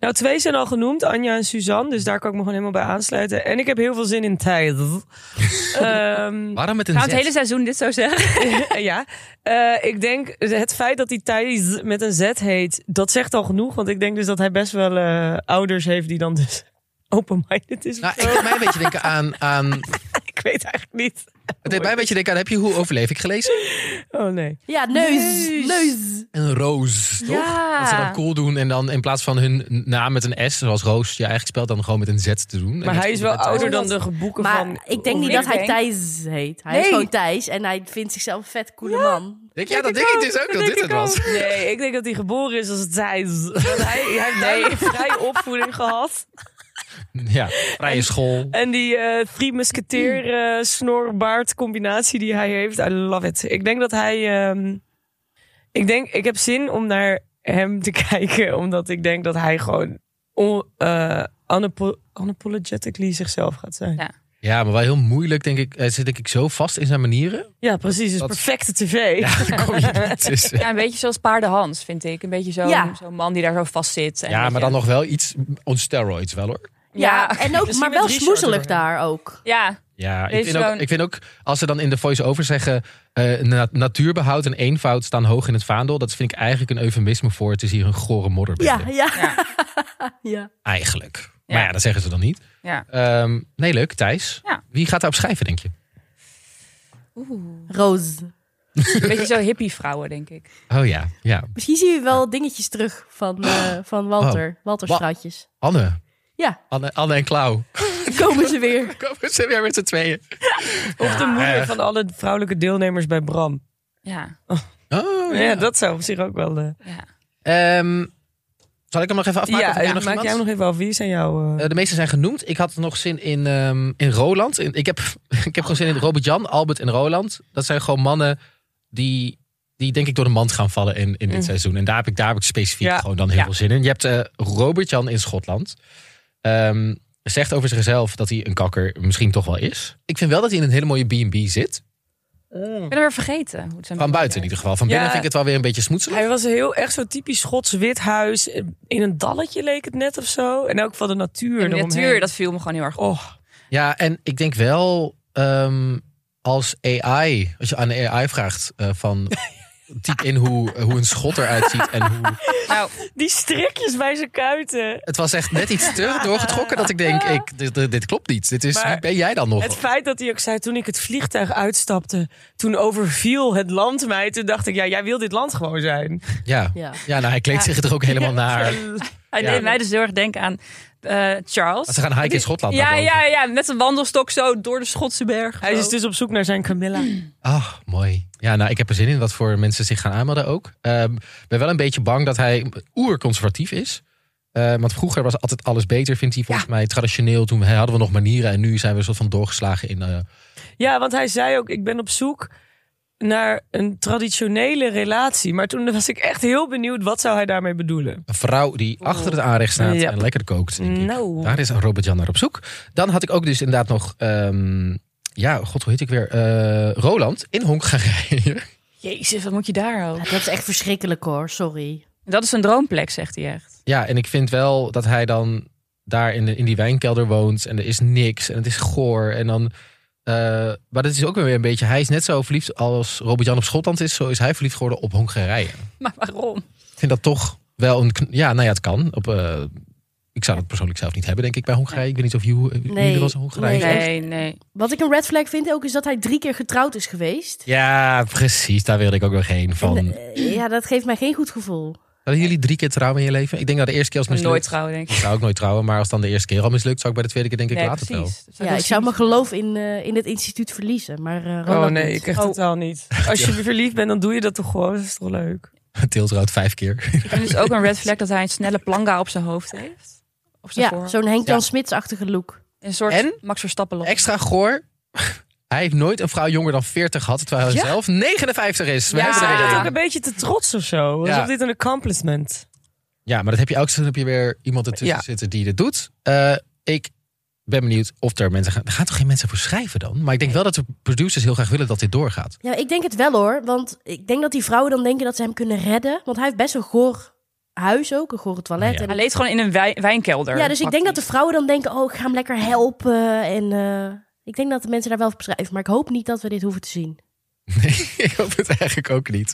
Speaker 4: Nou, twee zijn al genoemd, Anja en Suzanne. Dus daar kan ik me gewoon helemaal bij aansluiten. En ik heb heel veel zin in tijd. Ehm,
Speaker 1: Waarom met een
Speaker 3: Gaan we
Speaker 1: Z?
Speaker 3: het hele seizoen dit zo
Speaker 1: <laughs>
Speaker 3: zeggen?
Speaker 4: <laughs> ja, Eh, ik denk het feit dat hij Thijs met een Z heet, dat zegt al genoeg. Want ik denk dus dat hij best wel eh, ouders heeft die dan dus <laughs> open-minded is. of
Speaker 1: Nou,
Speaker 4: zo.
Speaker 1: ik deed mij een beetje denken aan, aan...
Speaker 4: ik weet eigenlijk niet.
Speaker 1: Het deed mij een beetje denken aan... Heb je Hoe Overleef Ik gelezen?
Speaker 4: Oh nee.
Speaker 2: <laughs> Ja, neus. Neus.
Speaker 1: Een roos, toch?
Speaker 3: Ja.
Speaker 1: Dat ze dan cool doen en dan in plaats van hun naam met een S, zoals Roos, je eigenlijk spelt dan gewoon met een Z te doen. En
Speaker 4: Maar
Speaker 1: dat
Speaker 4: hij
Speaker 1: komt
Speaker 4: is wel
Speaker 1: bij Thijs.
Speaker 4: ouder dan de boeken
Speaker 2: Maar
Speaker 4: van...
Speaker 2: ik denk niet
Speaker 3: Ik
Speaker 2: dat hij
Speaker 3: denk-
Speaker 2: Thijs heet. Hij is
Speaker 3: Nee.
Speaker 2: gewoon Thijs en hij vindt zichzelf een vet coole man.
Speaker 1: Denk, ja, dat denk ik dus ook dat dit het was.
Speaker 4: Nee, ik denk dat hij geboren is als Thijs. <laughs> Want hij, hij heeft duidelijk een vrije opvoeding gehad.
Speaker 1: <laughs> Ja, vrije school.
Speaker 4: En die eh drie musketeer eh, snorbaard combinatie die hij heeft, I love it. Ik denk dat hij... ehm, ik denk, ik heb zin om naar hem te <laughs> kijken. Omdat ik denk dat hij gewoon on, eh, unapo- unapologetically zichzelf gaat zijn.
Speaker 3: Ja.
Speaker 1: Ja, maar wel heel moeilijk, denk ik. Hij zit denk ik zo vast in zijn manieren. <laughs>
Speaker 4: Ja, precies. Dus
Speaker 1: Dat-
Speaker 4: perfecte tv.
Speaker 1: Ja, dan kom je niet tussen.
Speaker 3: Ja, een beetje zoals paardenhans, vind ik. Een beetje zo'n
Speaker 2: Ja.
Speaker 3: zo'n man die daar zo vast zit. En
Speaker 1: Ja,
Speaker 3: dat
Speaker 1: maar
Speaker 3: je-
Speaker 1: dan nog wel iets on steroids, wel hoor.
Speaker 2: Ja,
Speaker 3: Ja,
Speaker 2: en ook,
Speaker 4: misschien
Speaker 2: maar
Speaker 4: met
Speaker 2: wel
Speaker 4: Richard
Speaker 2: smoezelig
Speaker 4: erbij.
Speaker 2: daar ook.
Speaker 3: ja,
Speaker 1: Ja, ik
Speaker 3: Deze
Speaker 1: vind, ook,
Speaker 3: gewoon-
Speaker 1: ik vind ook, als ze dan in de voice-over zeggen... eh, na- natuurbehoud en eenvoud staan hoog in het vaandel... dat vind ik eigenlijk een eufemisme voor... het is hier een gore modderbende.
Speaker 2: Ja, ja.
Speaker 3: Ja.
Speaker 2: ja.
Speaker 1: Eigenlijk.
Speaker 3: Ja.
Speaker 1: Maar ja, dat zeggen ze dan niet.
Speaker 3: ja.
Speaker 1: Ehm, nee, leuk. Thijs,
Speaker 3: Ja.
Speaker 1: wie gaat daarop schrijven, denk je?
Speaker 2: Roos.
Speaker 3: Een beetje zo hippie vrouwen, denk ik.
Speaker 1: Oh ja, ja.
Speaker 2: Misschien zie je wel dingetjes terug van, eh, van Walter. Walter's
Speaker 1: Wa-
Speaker 2: vrouwtjes.
Speaker 1: Anne.
Speaker 2: Ja.
Speaker 1: Anne, Anne en Klauw. <laughs>
Speaker 2: Dan komen ze weer. <laughs>
Speaker 1: Komen ze weer met z'n tweeën.
Speaker 4: Of de
Speaker 1: echt.
Speaker 4: moeder van alle vrouwelijke deelnemers bij Bram.
Speaker 3: Ja,
Speaker 1: Oh, ja.
Speaker 4: Ja, dat zou op zich ook wel... eh,
Speaker 3: ja.
Speaker 1: Ehm, zal ik hem nog even afmaken? of
Speaker 4: ja,
Speaker 1: heb jij
Speaker 4: ja,
Speaker 1: nog
Speaker 4: maak
Speaker 1: iemand?
Speaker 4: jij hem nog even af. Wie zijn jouw... eh,
Speaker 1: Eh, de meeste zijn genoemd. Ik had nog zin in, ehm, in Roland. In- ik heb, <laughs> ik heb gewoon zin in Robert-Jan, Albert en Roland. Dat zijn gewoon mannen die, die denk ik door de mand gaan vallen in, in dit
Speaker 4: Mm.
Speaker 1: seizoen. En daar heb ik, daar heb ik specifiek
Speaker 4: Ja.
Speaker 1: gewoon dan heel
Speaker 3: Ja.
Speaker 1: veel zin in. Je hebt eh, Robert-Jan in Schotland. Ehm, zegt over zichzelf dat hij een kakker misschien toch wel is. Ik vind wel dat hij in een hele mooie B&B zit.
Speaker 3: Ik ben er weer vergeten. Hoe het zijn
Speaker 1: Van buiten in ieder geval. Van binnen
Speaker 4: Ja.
Speaker 1: vind ik het wel weer een beetje smoetselig.
Speaker 4: Eh, Hij was heel echt zo typisch Schots wit huis. eh, In een dalletje leek het net of zo. En ook van de natuur.
Speaker 3: En de
Speaker 4: eromheen.
Speaker 3: natuur, dat viel me gewoon heel erg op.
Speaker 4: Oh,
Speaker 1: Ja, en ik denk wel ehm, als AI, als je aan de AI vraagt eh, van typ in hoe, hoe een schot eruit ziet en hoe.
Speaker 3: Nou,
Speaker 4: die strikjes bij zijn kuiten.
Speaker 1: Het was echt net iets te doorgetrokken dat ik denk, ik, dit, dit- dit klopt niet. Dit is,
Speaker 4: Maar
Speaker 1: wie ben jij dan nog?
Speaker 4: Het feit dat hij ook zei, toen ik het vliegtuig uitstapte, toen overviel het land mij. Toen dacht ik, ja, jij wil dit land gewoon zijn.
Speaker 1: ja.
Speaker 2: Ja.
Speaker 1: ja, nou hij kleedt zich er ook helemaal naar.
Speaker 3: hij
Speaker 1: Ja.
Speaker 3: deed mij dus heel erg denken aan eh, Charles.
Speaker 1: Ze gaan hiken in
Speaker 3: Die-
Speaker 1: Schotland.
Speaker 3: Ja,
Speaker 1: daarboven.
Speaker 3: ja, ja, met een wandelstok zo door de Schotse berg.
Speaker 4: Hij
Speaker 3: zo.
Speaker 4: is dus op zoek naar zijn Camilla.
Speaker 1: Ach, Ah, mooi. Ja, nou, ik heb er zin in wat voor mensen zich gaan aanmelden ook. Ehm, ben wel een beetje bang dat hij oerconservatief is. Eh, want vroeger was altijd alles beter, vindt hij volgens mij traditioneel. Toen hadden we nog manieren en nu zijn we een soort van doorgeslagen in... eh,
Speaker 4: Ja, want hij zei ook, ik ben op zoek naar een traditionele relatie. Maar toen was ik echt heel benieuwd, wat zou hij daarmee bedoelen?
Speaker 1: een vrouw die achter het aanrecht staat
Speaker 4: Ja.
Speaker 1: en lekker kookt. Denk ik.
Speaker 4: Nou.
Speaker 1: Daar is Robert-Jan naar op zoek. Dan had ik ook dus inderdaad nog... ehm, ja, god, hoe heet ik weer? Eh, Roland in Hongarije. <laughs>
Speaker 3: Jezus, wat moet je daar ook?
Speaker 2: Ja, dat is echt verschrikkelijk hoor, sorry.
Speaker 3: Dat is een droomplek, zegt hij
Speaker 2: <laughs>
Speaker 3: echt.
Speaker 1: ja, en ik vind wel dat hij dan daar in, de, in die wijnkelder woont. En er is niks. En het is goor. En dan... eh, maar dat is ook weer een beetje... Hij is net zo verliefd als Robert-Jan op Schotland is. Zo is hij verliefd geworden op Hongarije.
Speaker 3: Maar waarom?
Speaker 1: Ik vind dat toch wel een... kn- Ja, nou ja, het kan. Op, eh, ik zou dat persoonlijk zelf niet hebben, denk ik, bij Hongarije. Ik weet niet of jullie eh,
Speaker 2: Nee,
Speaker 1: jullie was in Hongarije.
Speaker 2: Nee,
Speaker 3: Nee, nee.
Speaker 2: Wat ik een red flag vind ook is dat hij drie keer getrouwd is geweest.
Speaker 1: Ja, precies. Daar wilde ik ook nog heen. Van,
Speaker 2: En, eh, ja, dat geeft mij geen goed gevoel.
Speaker 1: Hadden jullie drie keer trouwen in je leven? Ik denk dat de eerste keer als
Speaker 3: Ik
Speaker 1: mislukt.
Speaker 3: nooit trouwen, denk
Speaker 1: Ik
Speaker 3: ik.
Speaker 1: zou ook nooit trouwen, maar als dan de eerste keer al mislukt, zou ik bij de tweede keer denk ik
Speaker 3: nee,
Speaker 1: later wel.
Speaker 3: precies. Dat dus
Speaker 2: Ja,
Speaker 3: heel
Speaker 2: ik zou
Speaker 3: cynisch
Speaker 2: mijn geloof in, eh, in het instituut verliezen. Maar eh,
Speaker 4: Oh
Speaker 2: Roland
Speaker 4: nee,
Speaker 2: niet.
Speaker 4: ik echt
Speaker 3: Oh.
Speaker 4: totaal niet. Als je verliefd bent, dan doe je dat toch gewoon. Dat is toch leuk?
Speaker 1: <laughs> Tilt trouwt vijf keer.
Speaker 3: Ik vind dus ook een red flag <laughs> dat hij een snelle planga op zijn hoofd heeft. Op zijn
Speaker 2: Ja,
Speaker 3: voorhoofd.
Speaker 2: zo'n Henk Jan
Speaker 1: Ja.
Speaker 2: Smits-achtige look.
Speaker 3: Een soort
Speaker 1: En?
Speaker 3: Max Verstappen look.
Speaker 1: Extra goor. <laughs> Hij heeft nooit een vrouw jonger dan 40 gehad, terwijl hij
Speaker 3: Ja?
Speaker 1: zelf 59 is. We
Speaker 3: Ja.
Speaker 1: hebben er weer
Speaker 4: Ik
Speaker 1: een.
Speaker 4: ben
Speaker 3: Ja.
Speaker 4: ook een beetje te trots of zo.
Speaker 1: Ja.
Speaker 4: Alsof dit een accomplishment. <laughs>
Speaker 1: ja, maar dat heb je ook. Dan heb je weer iemand ertussen
Speaker 4: Ja.
Speaker 1: zitten die dit doet. Eh, ik ben benieuwd of er mensen gaan. Er gaan toch geen mensen voor schrijven dan? Maar ik denk wel dat de producers heel graag willen dat dit doorgaat.
Speaker 2: Ja, ik denk het wel hoor. Want ik denk dat die vrouwen dan denken dat ze hem kunnen redden. Want hij heeft best een goor huis ook, een gore toilet.
Speaker 1: Ja.
Speaker 2: En
Speaker 3: Hij leeft gewoon in een wij- wijnkelder.
Speaker 2: Ja, dus ik denk dat de
Speaker 3: Actief.
Speaker 2: vrouwen dan denken: oh, ik ga hem lekker helpen. En eh, ik denk dat de mensen daar wel op beschrijven. Maar ik hoop niet dat we dit hoeven te zien.
Speaker 1: Nee, <laughs> ik hoop het eigenlijk ook niet.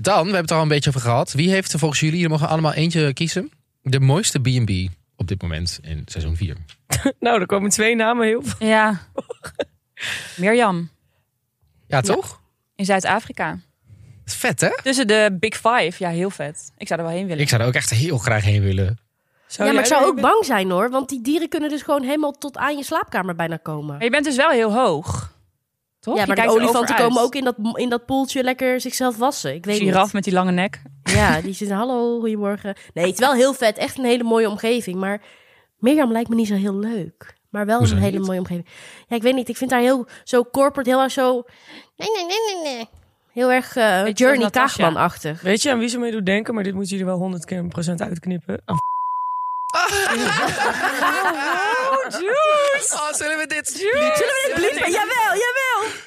Speaker 1: Dan, we hebben het al een beetje over gehad. Wie heeft er volgens jullie, jullie mogen allemaal eentje kiezen, de mooiste B&B op dit moment in seizoen 4?
Speaker 4: Nou, er komen twee namen heel
Speaker 2: <laughs>
Speaker 4: veel.
Speaker 3: Ja. Mirjam
Speaker 1: Ja, toch?
Speaker 3: in Zuid-Afrika.
Speaker 1: Vet, hè?
Speaker 3: Tussen de Big Five. Ja, heel vet. Ik zou er wel heen willen.
Speaker 1: Ik zou er ook echt heel graag heen willen.
Speaker 4: Zou
Speaker 2: ja, maar
Speaker 4: jij
Speaker 2: ik zou
Speaker 4: er
Speaker 2: ook
Speaker 4: een-
Speaker 2: bang zijn hoor. Want die dieren kunnen dus gewoon helemaal tot aan je slaapkamer bijna komen.
Speaker 3: Maar je bent dus wel heel hoog. Toch?
Speaker 2: ja,
Speaker 3: Je
Speaker 2: maar de
Speaker 3: kijkt erover
Speaker 2: olifanten
Speaker 3: uit.
Speaker 2: komen ook in dat, in dat poeltje lekker zichzelf wassen. Ik weet
Speaker 3: Giraf met die lange nek.
Speaker 2: niet. Ja, die zitten, hallo, goedemorgen. Nee, het is wel heel vet. Echt een hele mooie omgeving. Maar Mirjam lijkt me niet zo heel leuk. Maar wel
Speaker 1: Hoezo
Speaker 2: een hele
Speaker 1: niet?
Speaker 2: mooie omgeving. Ja, ik weet niet. Ik vind haar heel zo corporate, heel erg zo... Nee, nee, nee, nee, nee. Heel erg eh,
Speaker 3: zoals
Speaker 2: Journey
Speaker 3: Natasha.
Speaker 2: Kaagman-achtig.
Speaker 4: Weet je aan wie ze mee doet denken? Maar dit moeten jullie wel 100 keer een procent uitknippen. Aan
Speaker 1: Oh, zullen we dit
Speaker 2: Bliepen, jawel,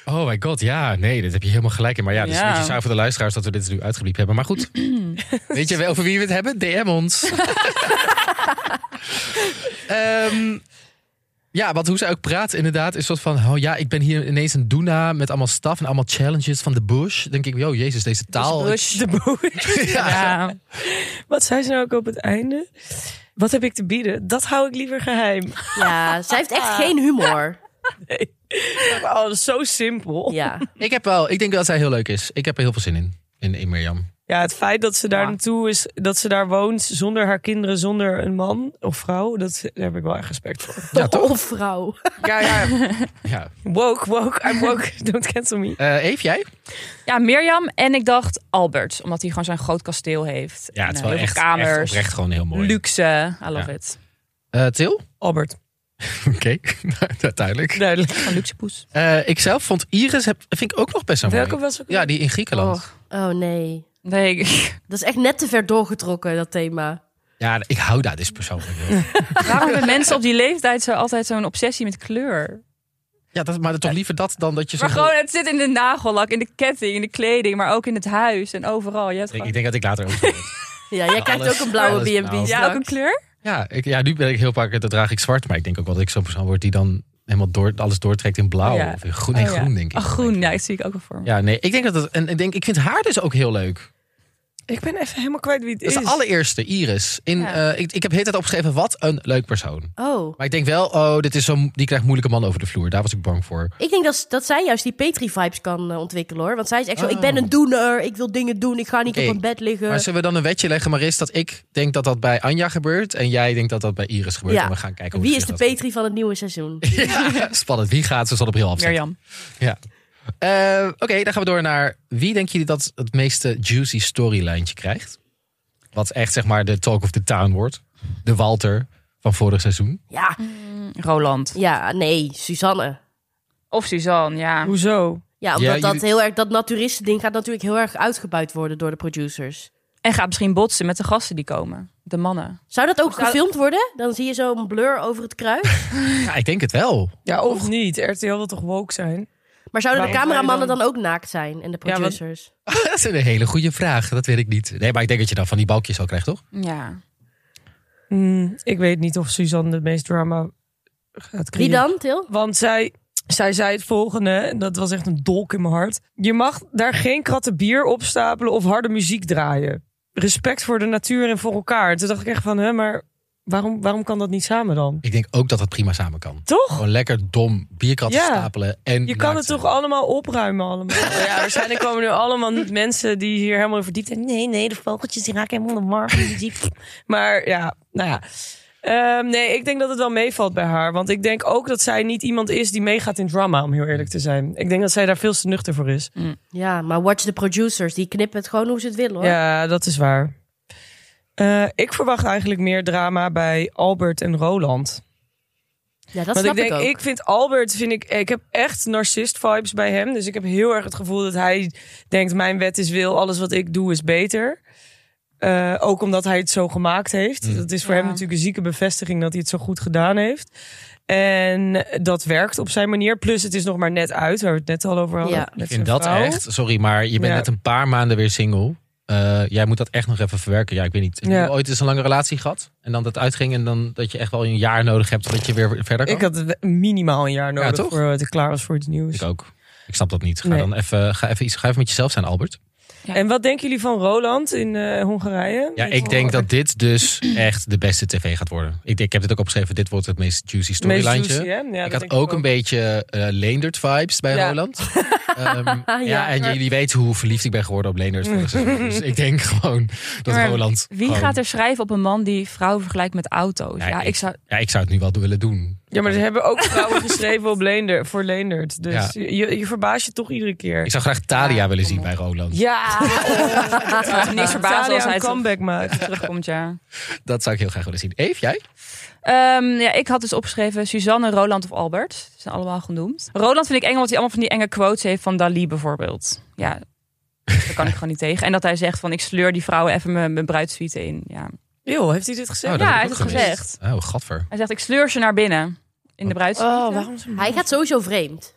Speaker 2: jawel.
Speaker 1: Oh my god, ja. Nee, dit heb je helemaal gelijk in. Maar ja, dus
Speaker 3: Ja.
Speaker 1: een beetje saai voor de luisteraars dat we dit nu uitgebliept hebben. Maar
Speaker 3: <clears throat>
Speaker 1: goed, weet je wel over wie we het hebben? DM
Speaker 3: <laughs>
Speaker 1: ons. Ehm, ja, want hoe zij ook praat inderdaad is soort van... Oh ja, ik ben hier ineens een doena met allemaal staf en allemaal challenges van de bush. denk ik, yo, jezus, deze taal. <laughs>
Speaker 3: Bush.
Speaker 4: De boer.
Speaker 3: Ja.
Speaker 4: <laughs> Wat zei ze nou ook op het einde? Wat heb ik te bieden? Dat hou ik liever geheim.
Speaker 2: Ja, zij heeft
Speaker 3: Ah.
Speaker 2: echt geen humor.
Speaker 4: Oh, dat is zo simpel. Ja.
Speaker 2: Ja.
Speaker 1: Ik heb wel, ik denk dat zij heel leuk is. Ik heb er heel veel zin in, in, in Mirjam.
Speaker 4: het feit dat ze daar
Speaker 3: Ja.
Speaker 4: naartoe is, dat ze daar woont zonder haar kinderen, zonder een man of vrouw, dat, daar heb ik wel echt respect voor.
Speaker 1: Ja, toch?
Speaker 2: Of vrouw.
Speaker 4: Ja, ja.
Speaker 1: Ja.
Speaker 4: Woke, woke, I'm <laughs> woke, don't cancel me.
Speaker 1: Eh Eve, jij?
Speaker 3: ja, Mirjam en ik dacht Albert, omdat hij gewoon zo'n groot kasteel heeft.
Speaker 1: Ja, het is
Speaker 3: En,
Speaker 1: wel
Speaker 3: eh, heel
Speaker 1: echt,
Speaker 3: veel kamers,
Speaker 1: echt oprecht gewoon heel mooi.
Speaker 3: luxe. I love
Speaker 1: Ja.
Speaker 3: it.
Speaker 1: Eh, Til? <laughs>
Speaker 4: Albert,
Speaker 1: Oké, <laughs> duidelijk.
Speaker 4: duidelijk.
Speaker 3: Van luxe poes.
Speaker 1: Eh, ik zelf vond Iris, heb, vind ik ook nog best een
Speaker 4: Welke
Speaker 1: mooie.
Speaker 4: was ook?
Speaker 1: Ja, die in Griekenland.
Speaker 3: Och,
Speaker 2: Oh nee.
Speaker 3: nee, ik- <laughs>
Speaker 2: Dat is echt net te ver doorgetrokken, dat thema.
Speaker 1: Ja, ik hou daar dus persoonlijk heel van.
Speaker 3: waarom hebben mensen op die leeftijd zo altijd zo'n obsessie met kleur?
Speaker 1: Ja, dat, maar toch liever dat dan dat je zo...
Speaker 3: Maar gewoon, het zit in de nagellak, in de ketting, in de kleding, maar ook in het huis en overal. Je hebt
Speaker 1: ik,
Speaker 3: gewoon...
Speaker 1: ik denk dat ik later ook... zo word.
Speaker 2: Ja, jij krijgt
Speaker 1: Alles-
Speaker 2: ook een blauwe
Speaker 1: alles nou.
Speaker 2: B&B
Speaker 1: blauw.
Speaker 3: ja, ook een
Speaker 2: straks.
Speaker 3: kleur?
Speaker 1: <laughs> ja, ik, ja, nu ben ik heel vaak, dan draag ik zwart. Maar ik denk ook wel dat ik zo'n persoon word die dan helemaal door, alles doortrekt in blauw.
Speaker 3: Ja.
Speaker 1: Of in groen, nee,
Speaker 3: Oh, ja.
Speaker 1: groen denk ik.
Speaker 3: Oh, groen, ja, dat zie ik ook al voor me.
Speaker 1: Ja, nee, ik denk dat het... En ik, denk, ik vind haar dus ook heel leuk.
Speaker 4: Ik ben even helemaal kwijt wie het
Speaker 1: Dat
Speaker 4: is.
Speaker 1: is de allereerste, Iris. In,
Speaker 3: Ja.
Speaker 1: eh, ik, ik heb de hele tijd opgeschreven, wat een leuk persoon.
Speaker 2: Oh.
Speaker 1: Maar ik denk wel, oh, dit is zo'n, die krijgt moeilijke man over de vloer. Daar was ik bang voor.
Speaker 2: Ik denk dat, dat zij juist die Petri-vibes kan eh, ontwikkelen, hoor. Want zij is echt zo,
Speaker 1: Oh.
Speaker 2: ik ben een doener, ik wil dingen doen, ik ga niet
Speaker 1: Oké,
Speaker 2: op een bed liggen.
Speaker 1: Maar zullen we dan een wetje leggen, Maris, dat ik denk dat dat bij Anja gebeurt en jij denkt dat dat bij Iris gebeurt?
Speaker 2: Ja.
Speaker 1: En we gaan kijken hoe
Speaker 2: Wie is
Speaker 1: zich
Speaker 2: de
Speaker 1: dat-
Speaker 2: Petri van het nieuwe seizoen?
Speaker 1: <laughs> Ja, spannend. Wie gaat ze zonder bril afzetten?
Speaker 3: Mirjam.
Speaker 1: Eh, Oké, dan gaan we door naar wie denken jullie dat het meeste juicy storylijntje krijgt? Wat echt zeg maar de talk of the town wordt. De Walter van vorig seizoen.
Speaker 2: Ja,
Speaker 3: Roland.
Speaker 2: ja nee, Suzanne.
Speaker 3: Of Suzanne, ja.
Speaker 4: Hoezo?
Speaker 2: Ja, omdat
Speaker 1: Ja,
Speaker 2: dat
Speaker 1: jullie-
Speaker 2: heel erg, dat naturisten ding gaat natuurlijk heel erg uitgebuit worden door de producers.
Speaker 3: En gaat misschien botsen met de gasten die komen. De mannen.
Speaker 2: Zou dat ook
Speaker 3: Zou-
Speaker 2: gefilmd worden? Dan zie je zo'n blur over het kruis.
Speaker 1: Ja, ik denk het wel. <laughs>
Speaker 4: Ja, of niet? RTL wil toch woke zijn?
Speaker 2: Maar zouden de
Speaker 4: Waarom
Speaker 2: cameramannen
Speaker 4: zou
Speaker 2: dan ook naakt zijn en de
Speaker 4: Ja, want-
Speaker 2: producers?
Speaker 1: dat is een hele goede vraag. Dat weet ik niet. Nee, maar ik denk dat je dan van die balkjes al krijgt, toch?
Speaker 3: Ja.
Speaker 4: Hmm, ik weet niet of Suzanne de meest drama gaat
Speaker 2: Wie
Speaker 4: creëren.
Speaker 2: dan, Til?
Speaker 4: Want zij, zij zei het volgende, en dat was echt een dolk in mijn hart. Je mag daar geen kratten bier opstapelen of harde muziek draaien. Respect voor de natuur en voor elkaar. En Toen dacht ik echt van, hè, maar waarom, waarom kan dat niet samen dan?
Speaker 1: Ik denk ook dat dat prima samen kan.
Speaker 4: Toch?
Speaker 1: Gewoon lekker dom bierkratten
Speaker 4: Ja.
Speaker 1: stapelen en
Speaker 4: Je kan
Speaker 1: naakt
Speaker 4: het
Speaker 1: zijn.
Speaker 4: toch allemaal opruimen allemaal? <laughs> Ja, waarschijnlijk komen nu allemaal niet mensen die hier helemaal in verdiept zijn. Nee, nee, de vogeltjes die raken helemaal de war van die muziek. Maar ja, nou ja. Ehm, nee, ik denk dat het wel meevalt bij haar. Want ik denk ook dat zij niet iemand is die meegaat in drama, om heel eerlijk te zijn. Ik denk dat zij daar veel te nuchter voor is.
Speaker 2: Ja, maar watch the producers. Die knippen het gewoon hoe ze het willen, hoor.
Speaker 4: Ja, dat is waar. Eh, ik verwacht eigenlijk meer drama bij Albert en Roland.
Speaker 2: Ja, dat
Speaker 4: Want
Speaker 2: snap
Speaker 4: ik
Speaker 2: ik,
Speaker 4: denk,
Speaker 2: ook.
Speaker 4: ik vind Albert, vind ik, ik heb echt narcist vibes bij hem. Dus ik heb heel erg het gevoel dat hij denkt: mijn wet is wil, alles wat ik doe is beter. Eh, ook omdat hij het zo gemaakt heeft.
Speaker 1: Mm.
Speaker 4: Dat is voor
Speaker 3: Ja.
Speaker 4: hem natuurlijk een zieke bevestiging dat hij het zo goed gedaan heeft. En dat werkt op zijn manier. Plus, het is nog maar net uit, waar we het net al over hadden.
Speaker 2: Ja.
Speaker 4: met
Speaker 1: Ik vind
Speaker 4: zijn
Speaker 1: dat
Speaker 4: vrouw.
Speaker 1: echt, sorry, maar je bent
Speaker 4: Ja.
Speaker 1: net een paar maanden weer single. Eh, jij moet dat echt nog even verwerken. Ja, ik weet niet. Heb je
Speaker 4: Ja.
Speaker 1: ooit eens een lange relatie gehad? En dan dat uitging en dan dat je echt wel een jaar nodig hebt voordat je weer verder kan?
Speaker 4: Ik had minimaal een jaar nodig
Speaker 1: toch?
Speaker 4: voor het ik klaar was voor iets nieuws.
Speaker 1: Ik ook. Ik snap dat niet. Ga
Speaker 4: Nee.
Speaker 1: dan even, ga even, iets, ga even met jezelf zijn, Albert.
Speaker 4: En wat denken jullie van Roland in eh, Hongarije?
Speaker 1: Ja, ik denk dat dit dus echt de beste tv gaat worden. Ik, ik heb dit ook opgeschreven. Dit wordt het meest juicy
Speaker 4: Meest
Speaker 1: storylijntje.
Speaker 4: juicy, hè? Ja,
Speaker 1: ik
Speaker 4: dat
Speaker 1: had
Speaker 4: denk
Speaker 1: ook een beetje eh Leendert vibes bij
Speaker 3: <laughs>
Speaker 4: Ja.
Speaker 1: Roland. Ehm, ja,
Speaker 2: Ja.
Speaker 1: en jullie weten hoe verliefd ik ben geworden op Leendert. vorig
Speaker 3: <laughs>
Speaker 1: seizoen. Dus ik denk gewoon dat
Speaker 3: Maar
Speaker 1: Roland.
Speaker 3: Wie
Speaker 1: gewoon-
Speaker 3: gaat er schrijven op een man die vrouwen vergelijkt met auto's?
Speaker 1: Nee,
Speaker 3: ja,
Speaker 1: ik-
Speaker 3: ik zou...
Speaker 1: Ja, ik zou het nu wel willen doen.
Speaker 4: Ja, maar ze hebben ook vrouwen geschreven op Leender, voor Leendert. Dus je, je verbaast je toch iedere
Speaker 1: Ik
Speaker 4: keer.
Speaker 1: zou graag Talia
Speaker 3: Ja,
Speaker 1: willen
Speaker 3: kom
Speaker 1: zien
Speaker 3: op.
Speaker 1: bij Roland.
Speaker 3: <laughs>
Speaker 4: Ja,
Speaker 3: Het zou me niks verbazen als
Speaker 4: Talia
Speaker 3: hij
Speaker 4: een
Speaker 3: terug-
Speaker 4: comeback maakt.
Speaker 3: terugkomt, ja.
Speaker 1: Dat zou ik heel graag willen zien. Eve, jij? Oh,
Speaker 3: Ehm, ja, ik had dus opgeschreven Suzanne, Roland of Albert. Ze zijn allemaal genoemd. Roland vind ik eng, omdat hij allemaal van die enge quotes heeft van Dali bijvoorbeeld. Ja, daar kan ik gewoon niet tegen. En dat hij zegt van ik sleur die vrouwen even mijn, mijn bruidsuite in. Ja.
Speaker 4: Joh, heeft hij dit gezegd?
Speaker 1: Oh, dat heb
Speaker 3: Ja, hij
Speaker 1: ik
Speaker 3: heeft
Speaker 1: ook
Speaker 3: het
Speaker 1: gemist.
Speaker 3: gezegd.
Speaker 1: Oh, gadver.
Speaker 3: Hij zegt, ik sleur ze naar binnen. In de bruidsliefde.
Speaker 4: Oh, waarom zo
Speaker 2: Hij gaat sowieso vreemd.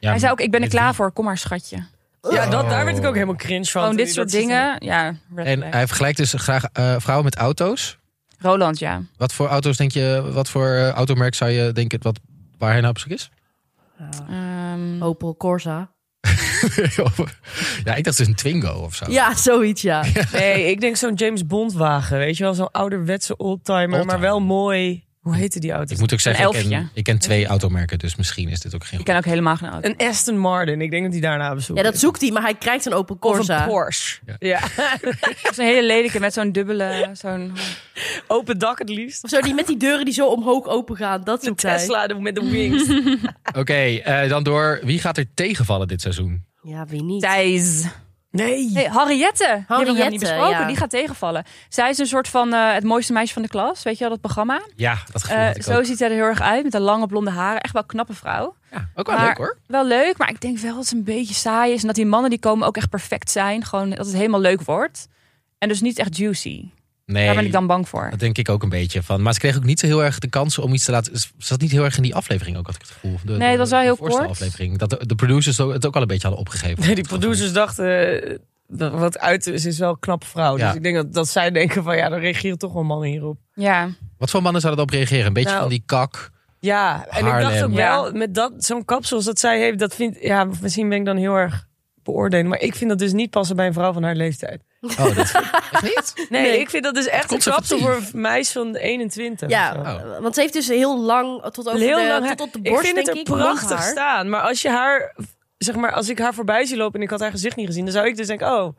Speaker 1: Ja,
Speaker 3: Hij zei ook, ik ben er
Speaker 1: met
Speaker 3: klaar
Speaker 1: wie?
Speaker 3: voor. Kom maar, schatje.
Speaker 4: Ja, dat, daar
Speaker 1: Oh.
Speaker 4: werd ik ook helemaal cringe van.
Speaker 3: Gewoon
Speaker 4: toen
Speaker 3: dit
Speaker 4: hij
Speaker 3: soort
Speaker 4: dat zei.
Speaker 3: dingen. Ja, red
Speaker 1: En
Speaker 3: flag.
Speaker 1: hij vergelijkt dus graag eh, vrouwen met auto's.
Speaker 3: Roland, ja.
Speaker 1: Wat voor auto's denk je, wat voor eh, automerk zou je denken wat, waar hij nou op zoek is? <laughs> Ah.
Speaker 3: Ehm,
Speaker 2: Opel Corsa.
Speaker 1: ja, ik dacht dus een Twingo of zo.
Speaker 2: Ja, zoiets, ja.
Speaker 4: <laughs> Nee, ik denk zo'n James Bond wagen. Weet je wel, zo'n ouderwetse oldtimer,
Speaker 1: Oldtimer.
Speaker 4: maar wel mooi. Hoe heette die auto?
Speaker 1: Ik moet ook zeggen, ik ken,
Speaker 3: elfje.
Speaker 1: ik ken twee automerken, dus misschien is dit ook geen
Speaker 3: ik ken ook helemaal geen auto.
Speaker 4: Een Aston Martin. Ik denk dat die daarna bezoekt.
Speaker 2: Ja, dat zoekt hij, maar hij krijgt een Opel
Speaker 4: Of
Speaker 2: Corsa.
Speaker 4: een Porsche.
Speaker 1: Ja.
Speaker 4: Ja. <laughs>
Speaker 3: Zo'n hele lelijke met zo'n dubbele... Zo'n...
Speaker 4: Open dak het liefst.
Speaker 2: Of zo, die met die deuren die zo omhoog open gaan. Dat
Speaker 4: De
Speaker 2: zoekt hij.
Speaker 4: Tesla de- met
Speaker 3: <laughs>
Speaker 4: de wings.
Speaker 1: Oké, eh, dan door. Wie gaat er tegenvallen dit seizoen?
Speaker 2: Ja, wie niet?
Speaker 3: Thijs.
Speaker 4: Nee.
Speaker 3: Nee, Harriette. Die hebben we nog helemaal niet
Speaker 2: Harriette,
Speaker 3: besproken.
Speaker 2: ja.
Speaker 3: Die gaat tegenvallen. Zij is een soort van eh, het mooiste meisje van de klas. Weet je wel, dat programma?
Speaker 1: Ja, dat gevoel
Speaker 3: Eh,
Speaker 1: had ik
Speaker 3: zo
Speaker 1: ook.
Speaker 3: ziet zij er heel erg uit. Met haar lange blonde haren. Echt wel een knappe vrouw.
Speaker 1: Ja, ook wel
Speaker 3: maar-
Speaker 1: leuk hoor.
Speaker 3: Wel leuk, maar ik denk wel dat ze een beetje saai is. En dat die mannen die komen ook echt perfect zijn. Gewoon dat het helemaal leuk wordt. En dus niet echt juicy.
Speaker 1: Nee,
Speaker 3: Daar ben ik dan bang voor.
Speaker 1: dat denk ik ook een beetje van. Maar ze kreeg ook niet zo heel erg de kans om iets te laten... Ze zat niet heel erg in die aflevering ook, had ik het gevoel. De,
Speaker 3: Nee, dat was
Speaker 1: de-
Speaker 3: wel
Speaker 1: de
Speaker 3: heel
Speaker 1: voorste
Speaker 3: kort.
Speaker 1: aflevering. Dat de, de producers het ook al een beetje hadden opgegeven.
Speaker 4: <laughs> Nee, die producers dachten, eh, dat wat uit is, is wel een knappe vrouw.
Speaker 1: Ja.
Speaker 4: Dus ik denk dat, dat zij denken van, ja, dan reageren toch wel mannen hierop.
Speaker 3: Ja.
Speaker 1: Wat voor mannen zouden daarop reageren? Een beetje
Speaker 4: Nou,
Speaker 1: van die kak.
Speaker 4: Ja, en ik dacht
Speaker 1: Haarlem.
Speaker 4: ook
Speaker 3: Ja.
Speaker 4: wel, met dat, zo'n kapsels dat zij heeft, dat vind ja, misschien ben ik dan heel erg beoordeeld. Maar ik vind dat dus niet passen bij een vrouw van haar leeftijd.
Speaker 3: <laughs>
Speaker 1: Oh, dat echt niet?
Speaker 4: Nee, ik vind dat dus echt een kapsel voor een meisje van 21.
Speaker 2: Ja,
Speaker 4: of zo.
Speaker 1: Oh.
Speaker 2: want ze heeft dus heel lang tot over
Speaker 4: heel
Speaker 2: de,
Speaker 4: lang haar-
Speaker 2: tot op de
Speaker 4: Ik
Speaker 2: borst,
Speaker 4: vind het er
Speaker 2: denk ik. lang
Speaker 4: prachtig
Speaker 2: haar.
Speaker 4: staan. Maar als je haar, zeg maar, als ik haar voorbij zie lopen en ik had haar gezicht niet gezien, dan zou ik dus denken, oh,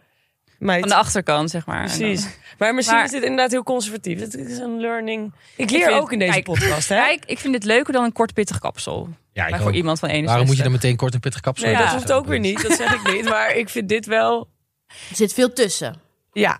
Speaker 4: meid.
Speaker 3: Van de achterkant, zeg maar. En
Speaker 4: Precies. Maar misschien
Speaker 3: Maar-
Speaker 4: is dit inderdaad heel conservatief. Het is een learning. Ik leer
Speaker 3: vind-
Speaker 4: ook in deze
Speaker 3: kijk,
Speaker 4: podcast, hè?
Speaker 3: dan- Kijk, ik vind dit leuker dan een kort pittig kapsel.
Speaker 1: Ja, ik
Speaker 3: Maar voor
Speaker 1: ook.
Speaker 3: iemand van 61.
Speaker 1: Waarom moet je dan meteen kort een pittig kapsel?
Speaker 4: Nee,
Speaker 3: Ja.
Speaker 4: dat hoeft ook weer niet. Dat zeg ik niet. Maar ik vind dit wel,
Speaker 2: Er zit veel tussen.
Speaker 4: ja.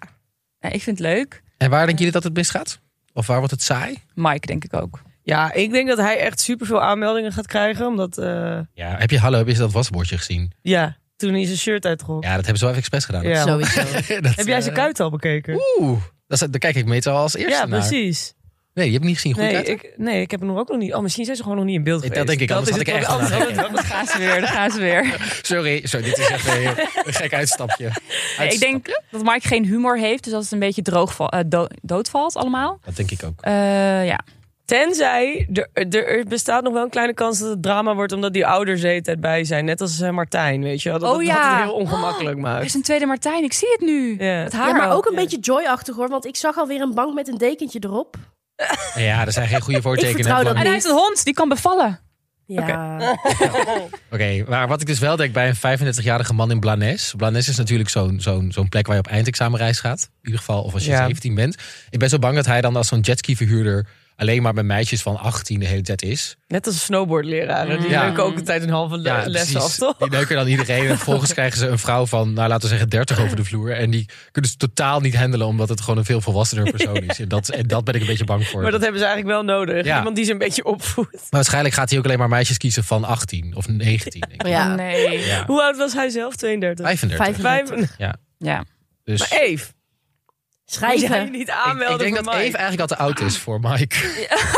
Speaker 3: Ja, eh, ik vind het leuk.
Speaker 1: En waar denken jullie dat het misgaat? Of waar wordt het saai?
Speaker 3: Mike, denk ik ook.
Speaker 4: Ja, ik denk dat hij echt superveel aanmeldingen gaat krijgen. Omdat, eh,
Speaker 1: Ja, heb je Hallo, heb je dat wasbordje gezien?
Speaker 4: ja, toen hij zijn shirt uittrok.
Speaker 1: Ja, dat hebben ze wel even expres gedaan.
Speaker 4: Ja.
Speaker 2: Sowieso.
Speaker 1: <laughs> Dat,
Speaker 4: Heb jij zijn
Speaker 1: eh,
Speaker 4: kuit al bekeken?
Speaker 1: Oeh, dat is- daar kijk ik meestal als eerste
Speaker 4: ja,
Speaker 1: naar.
Speaker 4: precies.
Speaker 1: Nee, je hebt niet gezien. Goed
Speaker 4: Nee
Speaker 1: uit, hè?
Speaker 4: ik, nee, ik heb hem ook nog niet. Oh, misschien zijn ze gewoon nog niet in beeld
Speaker 1: Ik- dat
Speaker 4: geweest.
Speaker 1: denk ik, anders
Speaker 4: is
Speaker 1: had ik
Speaker 4: het
Speaker 1: echt
Speaker 4: wel-
Speaker 1: gedaan.
Speaker 4: anders had het
Speaker 3: Dan gaan ze weer, dan gaan ze <laughs> weer.
Speaker 1: <laughs> Sorry, sorry, dit is echt een,
Speaker 4: <laughs>
Speaker 1: heel- een gek uitstapje.
Speaker 3: Nee, ik
Speaker 1: Uitstap-
Speaker 3: denk dat Mike geen humor heeft, dus dat het een beetje droog val- eh, do- doodvalt allemaal.
Speaker 1: Dat denk ik ook.
Speaker 3: Eh, ja.
Speaker 4: Tenzij, er, er er bestaat nog wel een kleine kans dat het drama wordt... omdat die ouders de hele tijd bij zijn. Net als eh, Martijn, weet je wel. Dat,
Speaker 3: Oh,
Speaker 4: dat- dat
Speaker 3: ja. Oh.
Speaker 4: het heel ongemakkelijk
Speaker 3: Er
Speaker 4: maakt.
Speaker 3: is een tweede Martijn, ik zie het nu.
Speaker 4: Ja.
Speaker 3: Het haar
Speaker 2: Ja, maar ook een
Speaker 4: ja.
Speaker 2: beetje joy-achtig hoor, want ik zag alweer een bank met een dekentje erop.
Speaker 1: Ja, er zijn geen
Speaker 4: <laughs>
Speaker 1: goede voortekenen.
Speaker 2: vertrouw dat
Speaker 1: van-
Speaker 3: En hij heeft een hond, die kan bevallen.
Speaker 2: Ja.
Speaker 1: Oké, maar wat ik dus wel denk bij een 35-jarige man in Blanes. Blanes is natuurlijk zo'n zo'n zo'n plek waar je op eindexamenreis gaat. In ieder geval, of als je
Speaker 4: Ja.
Speaker 1: 17 bent. Ik ben zo bang dat hij dan als zo'n jetski-verhuurder... alleen maar bij meisjes van 18 de hele tijd is.
Speaker 4: Net als snowboardleraren. Die
Speaker 1: Ja.
Speaker 4: leuken ook de tijd een halve le- les af, toch?
Speaker 1: Die neuken dan iedereen. En
Speaker 4: <laughs>
Speaker 1: vervolgens krijgen ze een vrouw van, nou laten we zeggen, 30 over de vloer. En die kunnen ze totaal niet handelen, omdat het gewoon een veel volwassener persoon is. En dat, en dat ben ik een beetje bang voor.
Speaker 4: Maar dat hebben ze eigenlijk wel nodig.
Speaker 1: Ja.
Speaker 4: Iemand die ze een beetje opvoedt.
Speaker 1: Maar waarschijnlijk gaat hij ook alleen maar meisjes kiezen van 18 of 19. Denk
Speaker 4: <laughs>
Speaker 1: ik.
Speaker 2: <laughs> Ja.
Speaker 3: Oh, Nee.
Speaker 1: Ja.
Speaker 4: Hoe oud was hij zelf? 32?
Speaker 1: 35.
Speaker 2: Vijf-
Speaker 4: Vijf-
Speaker 3: Ja.
Speaker 1: Dus
Speaker 4: Maar Eve, moet jij je
Speaker 2: Schrijven.
Speaker 4: niet
Speaker 1: ik,
Speaker 4: aanmelden
Speaker 1: ik denk dat
Speaker 4: voor
Speaker 1: Eve
Speaker 4: Mike?
Speaker 1: eigenlijk al te oud is voor
Speaker 4: <laughs>
Speaker 1: Mike.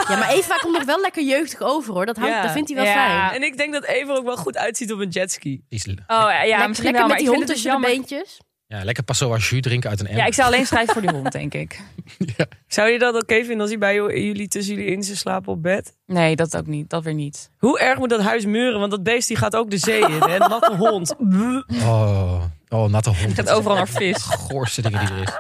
Speaker 2: Ja, maar Eva komt nog wel lekker jeugdig over hoor. Dat, houdt,
Speaker 4: Ja.
Speaker 2: dat vindt hij
Speaker 3: Ja.
Speaker 2: wel fijn.
Speaker 4: En ik denk dat Eve er ook wel goed uitziet op een jetski.
Speaker 1: Is-
Speaker 3: Oh ja, ja
Speaker 2: Lek-
Speaker 3: misschien wel,
Speaker 2: lekker met
Speaker 3: maar
Speaker 2: die
Speaker 3: ik vind
Speaker 2: hond
Speaker 3: het dus
Speaker 2: tussen de
Speaker 3: jammer.
Speaker 2: beentjes.
Speaker 1: Ja, lekker passoa jus drinken uit een emmer.
Speaker 3: Ja, ik zou alleen schrijven voor die hond, denk ik.
Speaker 4: Zou je dat oké vinden als hij bij jou- jullie tussen jullie in zou slapen op bed?
Speaker 3: Nee, dat ook niet. Dat weer niet.
Speaker 4: Hoe erg moet dat huis muren? Want dat beest die gaat ook de zee in. Hè? Natte
Speaker 3: <laughs>
Speaker 4: hond.
Speaker 1: Oh, oh, natte hond.
Speaker 3: Het gaat overal naar vis.
Speaker 1: goorste dingen die er is.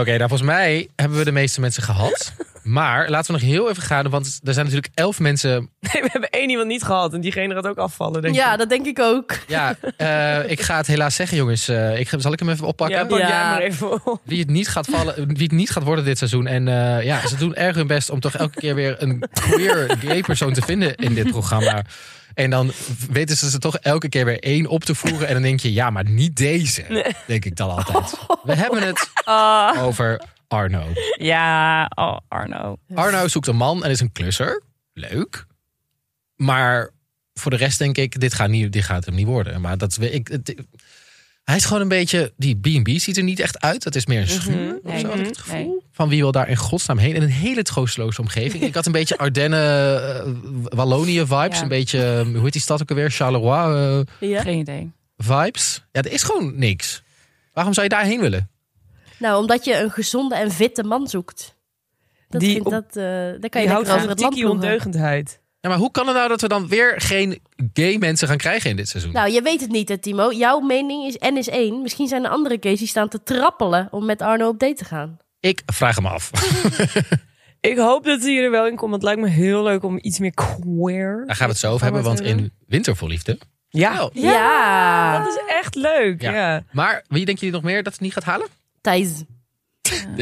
Speaker 1: Oké, nou volgens mij hebben we de meeste mensen gehad. Maar laten we nog heel even gaan, want er zijn natuurlijk elf mensen.
Speaker 4: <laughs> Nee, we hebben één iemand niet gehad. En diegene gaat ook afvallen, denk ik.
Speaker 2: Ja, dat denk ik ook.
Speaker 1: Ja, eh, ik ga het helaas zeggen, jongens. Eh, ik, ga- zal ik hem even oppakken?
Speaker 4: Ja, pak jij
Speaker 2: Ja.
Speaker 4: maar even op.
Speaker 1: Wie het niet gaat vallen, wie het niet gaat worden dit seizoen. En eh, ja, ze doen erg hun best om toch elke keer weer een queer gay persoon te vinden in dit programma. En dan weten ze ze toch elke keer weer één op te voeren. En dan denk je, ja, maar niet deze. Denk ik dan altijd. We hebben het
Speaker 3: Ah,
Speaker 1: over Arno.
Speaker 3: ja, oh, Arno.
Speaker 1: Arno zoekt een man en is een klusser. Leuk. Maar voor de rest denk ik, dit gaat, niet, dit gaat hem niet worden. Maar dat, we- ik, het- Hij is gewoon een beetje... Die B&B ziet er niet echt uit. Dat is meer een schuur.
Speaker 3: Mhm. Nee,
Speaker 1: zo had ik
Speaker 3: nee.
Speaker 1: het gevoel. Van wie wil daar in godsnaam heen? In een hele troosteloze omgeving. Ik had een beetje Ardennen, eh, Wallonië vibes.
Speaker 3: Ja.
Speaker 1: Een beetje, eh, hoe heet die stad ook alweer? Charleroi eh,
Speaker 2: Ja.
Speaker 3: Geen idee.
Speaker 1: vibes. Ja, er is gewoon niks. Waarom zou je daarheen willen?
Speaker 2: Nou, omdat je een gezonde en fitte man zoekt. Dat
Speaker 4: Die
Speaker 2: vindt
Speaker 4: op-
Speaker 2: dat, eh, daar kan
Speaker 4: Die
Speaker 2: je lekker
Speaker 4: houdt van
Speaker 2: over het land
Speaker 4: die
Speaker 2: ploegen.
Speaker 4: ondeugendheid.
Speaker 1: Ja, maar hoe kan het nou dat we dan weer geen gay mensen gaan krijgen in dit seizoen?
Speaker 2: Nou, je weet het niet, hè, Timo. Jouw mening is N is één. Misschien zijn er andere gays die staan te trappelen om met Arno op date te gaan.
Speaker 1: Ik vraag hem af.
Speaker 4: Ik hoop dat hij er wel in komt, want het lijkt me heel leuk om iets meer queer.
Speaker 1: Daar gaan we het zo over hebben, want in Winter vol Liefde...
Speaker 4: Ja,
Speaker 1: Nou,
Speaker 2: Ja.
Speaker 4: dat is echt leuk.
Speaker 1: Ja.
Speaker 4: Ja.
Speaker 1: Maar wie denken jullie nog meer dat het niet gaat halen?
Speaker 2: Thijs.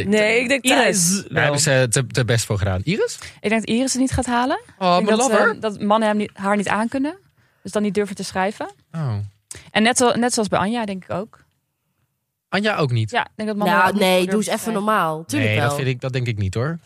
Speaker 4: Nee, ik denk Thijs.
Speaker 1: Daar
Speaker 4: wel.
Speaker 1: hebben ze te, te best voor gedaan. Iris?
Speaker 3: Ik denk dat Iris het niet gaat halen.
Speaker 1: Oh, mijn
Speaker 3: ik denk dat,
Speaker 1: lover.
Speaker 3: eh, dat mannen hem niet, haar niet aankunnen. Dus dan niet durven te schrijven.
Speaker 1: Oh.
Speaker 3: En net, zo, net zoals bij Anja, denk ik ook.
Speaker 1: Anja ook niet.
Speaker 3: Ja, ik denk dat mannen haar
Speaker 2: Nou,
Speaker 3: ook niet
Speaker 2: nee,
Speaker 3: durven
Speaker 2: doe eens
Speaker 3: te
Speaker 2: even
Speaker 3: schrijven.
Speaker 2: normaal. Tuurlijk
Speaker 1: nee,
Speaker 2: wel.
Speaker 1: dat, vind ik, dat denk ik niet hoor.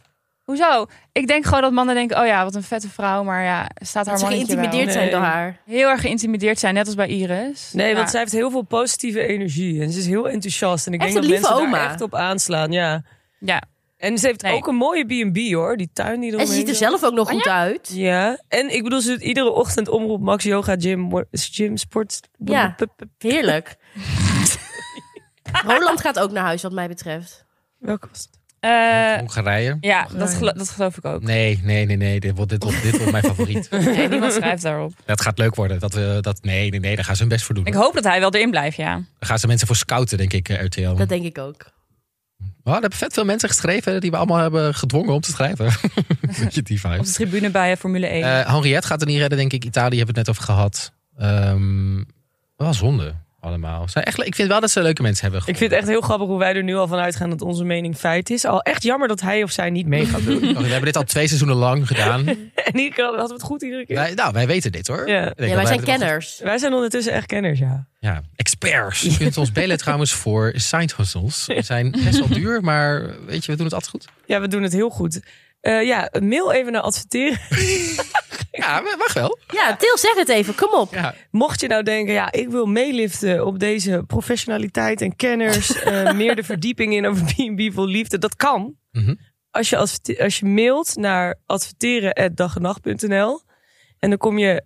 Speaker 3: Hoezo? Ik denk gewoon dat mannen denken, oh ja, wat een vette vrouw. Maar ja, staat haar
Speaker 2: dat ze
Speaker 3: mannetje wel. Oh,
Speaker 2: geïntimideerd zijn
Speaker 4: Nee.
Speaker 2: door haar.
Speaker 3: Heel erg geïntimideerd zijn, net als bij Iris.
Speaker 4: Nee,
Speaker 3: Ja.
Speaker 4: want zij heeft heel veel positieve energie. En ze is heel enthousiast. En ik
Speaker 2: Echt
Speaker 4: denk
Speaker 2: een
Speaker 4: dat
Speaker 2: lieve
Speaker 4: mensen
Speaker 2: oma.
Speaker 4: daar echt op aanslaan. Ja.
Speaker 3: Ja,
Speaker 4: En ze heeft
Speaker 3: Nee.
Speaker 4: ook een mooie B&B hoor. Die tuin die
Speaker 2: En ze
Speaker 4: eromheen
Speaker 2: ziet er
Speaker 4: zit.
Speaker 2: zelf ook nog
Speaker 3: Ah, ja?
Speaker 2: goed uit.
Speaker 4: Ja. En ik bedoel, ze doet iedere ochtend omroep Max Yoga Gym, mo- gym Sport.
Speaker 2: Ja.
Speaker 4: Pup, pup.
Speaker 2: Heerlijk. <laughs> Roland gaat ook naar huis, wat mij betreft.
Speaker 4: Welke was het?
Speaker 3: Eh,
Speaker 1: Hongarije?
Speaker 3: ja dat, gelo- dat geloof ik ook.
Speaker 1: Nee, nee, nee, nee. Dit wordt, dit wordt, dit wordt
Speaker 3: <laughs>
Speaker 1: mijn favoriet.
Speaker 3: Nee, niemand schrijft daarop.
Speaker 1: Dat gaat leuk worden. Dat, we dat, nee, nee, nee. Daar gaan ze hun best voor doen.
Speaker 3: Ik
Speaker 1: hoor.
Speaker 3: hoop dat hij wel erin blijft, ja.
Speaker 1: Daar gaan ze mensen voor scouten, denk ik, eh, RTL.
Speaker 2: Dat denk ik ook.
Speaker 1: Oh, er hebben vet veel mensen geschreven die we allemaal hebben gedwongen om te schrijven. <laughs> Beetje die vibe.
Speaker 3: Op de tribune bij eh, Formule 1.
Speaker 1: Eh, Henriette gaat er niet redden, denk ik. Italië hebben we het net over gehad. Ehm wel zonde allemaal. Zijn echt, le- ik vind wel dat ze leuke mensen hebben.
Speaker 4: Ik vind het echt heel grappig hoe wij er nu al van uitgaan dat onze mening feit is. Al echt jammer dat hij of zij niet mee gaat doen.
Speaker 1: We hebben dit al twee seizoenen lang gedaan.
Speaker 4: <laughs> en iedere keer hadden we het goed iedere keer.
Speaker 1: Wij- nou, wij weten dit hoor.
Speaker 4: Ja.
Speaker 1: Ik denk dat
Speaker 2: Ja, wij zijn
Speaker 1: het wel goed-
Speaker 2: kenners.
Speaker 4: Wij zijn ondertussen echt kenners, ja.
Speaker 1: Ja, experts. Je kunt ons bellen trouwens voor side hustles. Ze zijn best wel duur, maar weet je, we doen het altijd goed.
Speaker 4: Ja, we doen het heel goed. Eh, ja, mail even naar adverteren.
Speaker 1: Ja, we- mag wel.
Speaker 2: Ja, Til, zeg het even. Kom op.
Speaker 1: Ja.
Speaker 4: Mocht je nou denken, ja, ik wil meeliften op deze professionaliteit
Speaker 1: <laughs>
Speaker 4: en kenners, eh, meer de verdieping in over B&B vol liefde, dat kan.
Speaker 1: Mhm.
Speaker 4: Als, je adverte- als je mailt naar adverteren@dagennacht.nl en dan kom je